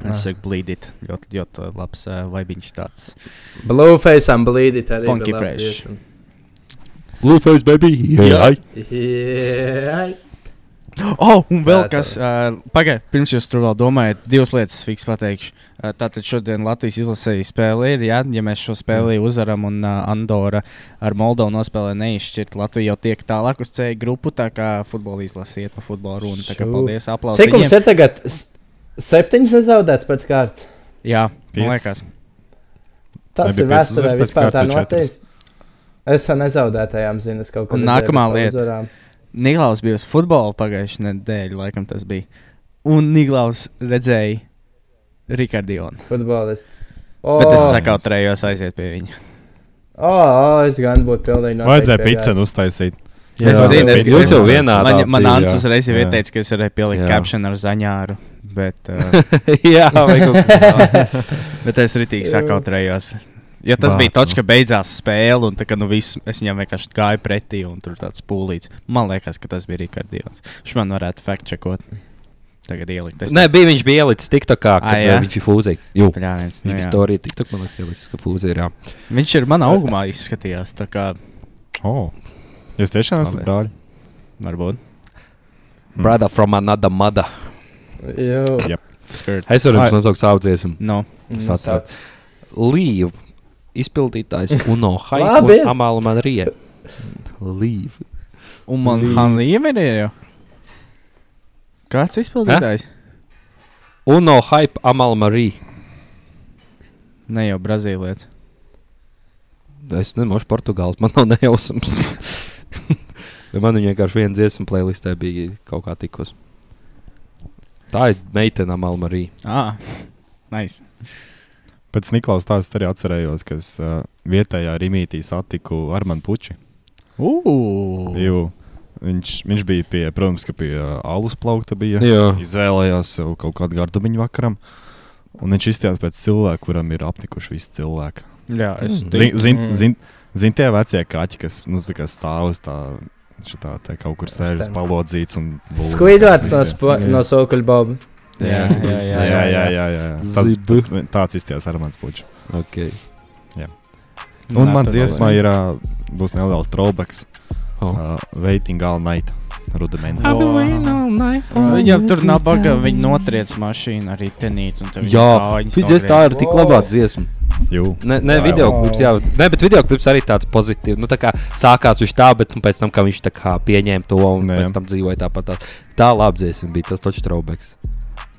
Ah. Es saku, bleed it. Ļoti, ļoti labs uh, vibiņš tāds. (gasps) Blueface and Bleed it arī. Funky bija laba Fresh. dziesma. (laughs) Blueface baby! Jā. ai. Yeah. Oh, un vēl Tā, tā. kas, uh, pagaidiet, pirms jūs tur vēl domājat, divas lietas fiks pateikšu. Uh, tātad šodien Latvijas izlasīja spēli, ir, ja, ja mēs šo spēli uzvaram un uh, Andora ar Moldovu nospēlē neizšķirt, Latvija jau tiek tālāk uz C grupu, tā kā futbola izlasiet pa futbola runu. Tā kā Šū. paldies, aplausi. Cik mums ir tagad? S- Septiņas nezaudēts pēc kārtas. Jā, Piec. man liekas. Tas Nebija ir piecas vēsturē uzvaras pēc vispār tā kārtas vai četras? noticis. Es jau nezaudētajām zinu, es kaut ko Un redzēju, nākamā bet lieta. uzvarām. Niklaus bija uz futbola pagājušā nedēļa, laikam tas bija. Un Niklaus redzēja Rikardionu. Futbolists. Oh. Oh, Bet es saku- sakau, trejos aiziet pie viņa. oh, oh, es gan būtu pilnīgi noteikti. Vajadzēja nu. pieļāvis. picenu uztaisīt. Jā, es zinu, es pie- gribu- jūs jau vienādā Man, man bija, jā. Ants uzreiz jau Jā. ieteica, ka es varēju pielikt Jā. caption ar zaņāru. Bet, (laughs) uh, (laughs) Jā, vai kaut kas tāds. bet es ritīgi sakau, trejos. Jo tas Vācu. bija nu. točs, ka beidzās spēle, un tā, kā, nu, viss, es viņam vienkārši gāju pretī, un tur tāds pūlīts. Man liekas, ka tas bija Rikardions. Viņš man varētu faktčekot. Tagad ielikt. Es (laughs) Nē, bija viņš bija ielicis TikTokā, kad Ai, ā, jā? viņš ir fūzija. Jū. Pļāviens, nu Viņš bija jā. stāstījis, ka TikTok man liekas, ielicis, ka fūzija ir. jā. Viņš ir manā augumā izskatījās. tā Kā, O, jūs tiešām esat Labi. brāļi? varbūt. Brother from another mother. Jū, Skirt. Es varu Ai. jums nosaukt savu dziesmu. No. nu, Satrauc. sauc. Līva. Izpildītājs (laughs) Uno Labi. Haiku un Amāla Marija. Līva. Un man Lī- Hanlīva ir jau. Kāds izpildītājs? Uno Haiku Amāla Marija. Ne jau brazīlietis. Es nemošu portugāls, man nav nejausmas. (laughs) Vai man viņa vienkārši viena dziesma playlistē bija kaut kā tikus. Tā ir meitene Amāla Marija. Ah, nice. Pēc Niklaus tās arī atcerējos, ka es uh, vietējā rīmītī satiku Armanu Puči. Ugh. Jū, Viņš, viņš bija pie, protams, ka pie uh, alus plaukta bija. Jā. Izvēlējās sev kaut kādu gardumiņu vakaram. Un viņš izstājās pēc cilvēka, kuram ir apnikuši visi cilvēki. Jā, es Mm. domāju, Zini, zin, Mm. zin, zin tie vecie kaķi, kas nu, tā kā stāv uz tā, šitā, tā kaut kur sēž uz Šitā. palodzīts un Skvidots no, Visi. spo- no sokuļbauba. Jā, jā, jā. jā, jā, jā, jā. Tāds, Zibu. tāds izties ar mans puču. Okay. Un Nā, man tad dziesmā vēl- ir, ā, būs neliels throwbacks. Oh. Uh, waiting all night. Rudimenā. I've been waiting all Viņam tur nav baga, viņa notriec mašīnu ar ritenīti. un tad viņa Jā, kājiņas šī dziesma tā ir tik labā dziesma. Jū. Ne, ne Jā, jā. video klips, jā. Ne, bet video klips arī tāds pozitīvs. Nu, tā kā sākās viņš tā, bet nu, pēc tam, kā viņš tā kā pieņēma to un Jā, jā. pēc tam dzīvoja tāpat. Tā, tā laba dziesma bija, tas taču traubeks.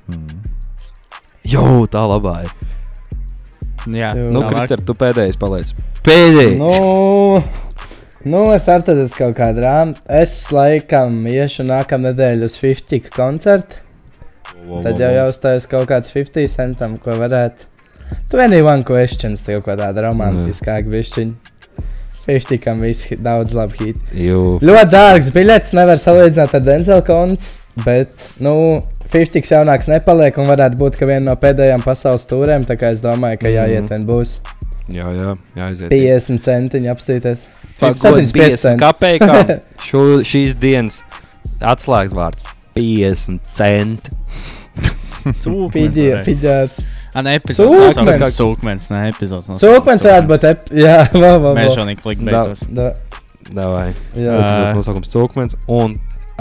Mm. Jo, tā labā ir. Jā, Jū. Nu, tālāk. Kristēr, tu pēdējais paliec. Pēdējais. No. Nu, nu, es ar tādu kaut kādu rāmu. Es laikam iešu nākamā nedēļa uz 50 koncertu. Wo, wo, Tad wo, jau wo. jāuzstājas kaut kāds 50 centam, ko varētu. Tu vienīgi one questions, tev kaut kāda romantiskāka višķiņa. 50 kam visi daudz labi hit. Jū. Ļoti dārgs biļets, nevar salīdzināt ar Denzela kontu, bet, nu, 50 jaunāks nepaliek un varētu būt, ka viena no pēdējām pasaules tūrēm, tā kā es domāju, ka jāiet vien būs Jā, jā, jāiziet. 50 centiņi apstīties. Pagod, 75 50 centi. Kāpēc? Šo- Šīs dienas atslēgas vārds - 50 centi. Cūkmens. Pidžārs. An epizodes. Cūkmens. Cūkmens. Cūkmens, ne epizodes. nosaucums, Cūkmens varētu būt, ep- (laughs) jā, vēl, vēl, Mēs vēl. šodien klikbeitos. Da, Davai. jā. Tas Ā. ir nosaukums Cūkmens. Un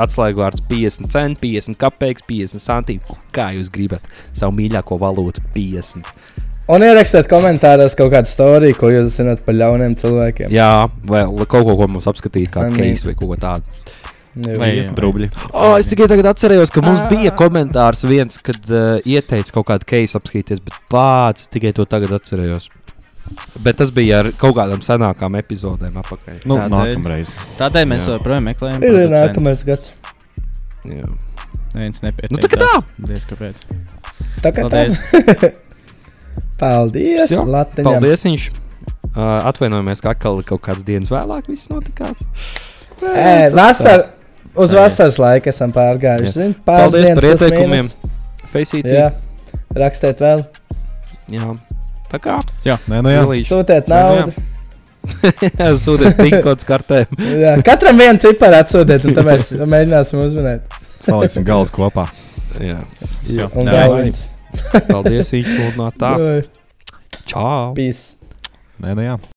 atslēgvārds 50 centi, 50 kopēks, 50 centīvi. Kā jūs gribat savu mīļāko valūtu? 50. Un ierakstiet komentāros kaut kādu stāstu, ko jūs zināt par ļauniem cilvēkiem. Jā, vai l- kaut ko, ko mums apskatīja, kā Amī. case vai kaut ko tādu. Jā, Vai- Piecdesmit rubļi. O, es tikai tagad atcerējos, ka mums bija komentārs viens, kad uh, ieteica kaut kādu case apskatīties, bet pats tikai to tagad atcerējos. Bet tas bija ar kaut kādām senākām epizodēm apakaļ. Nu, Tādēļ. nākamreiz. Tādēļ mēs Jā. joprojām meklējam. ir producentu. nākamais gads. Jā. Neviens Nu, tā kā nepieteicās. tā! Diez kāpēc. Tā kā tā. Paldies. Paldies! Jo, Latviņam. Paldies, viņš. Uh, atvainojamies, ka atkal kaut kādas dienas vēlāk viss notikās. Ē, Tas vasar, uz Jā. vasaras laika esam pārgājuši. Zin, pāris Paldies dienas par plus ieteikumiem. mīnus. Faceitī. Jā, rakstiet vēl, Jā. Tā kā Nē, nu jā. Pilīši. sūtiet Jā, naudu. (laughs) sūtiet pinkots kartēm. (laughs) Jā, katram vienu ciparu atsūtiet, un tad mēs mēģināsim uzminēt. Saliksim galus kopā. Jā. Jā. Un Jā. galvenais. Paldies, viņš lūdz no tā. Čau! Peace. Nē, nu jā.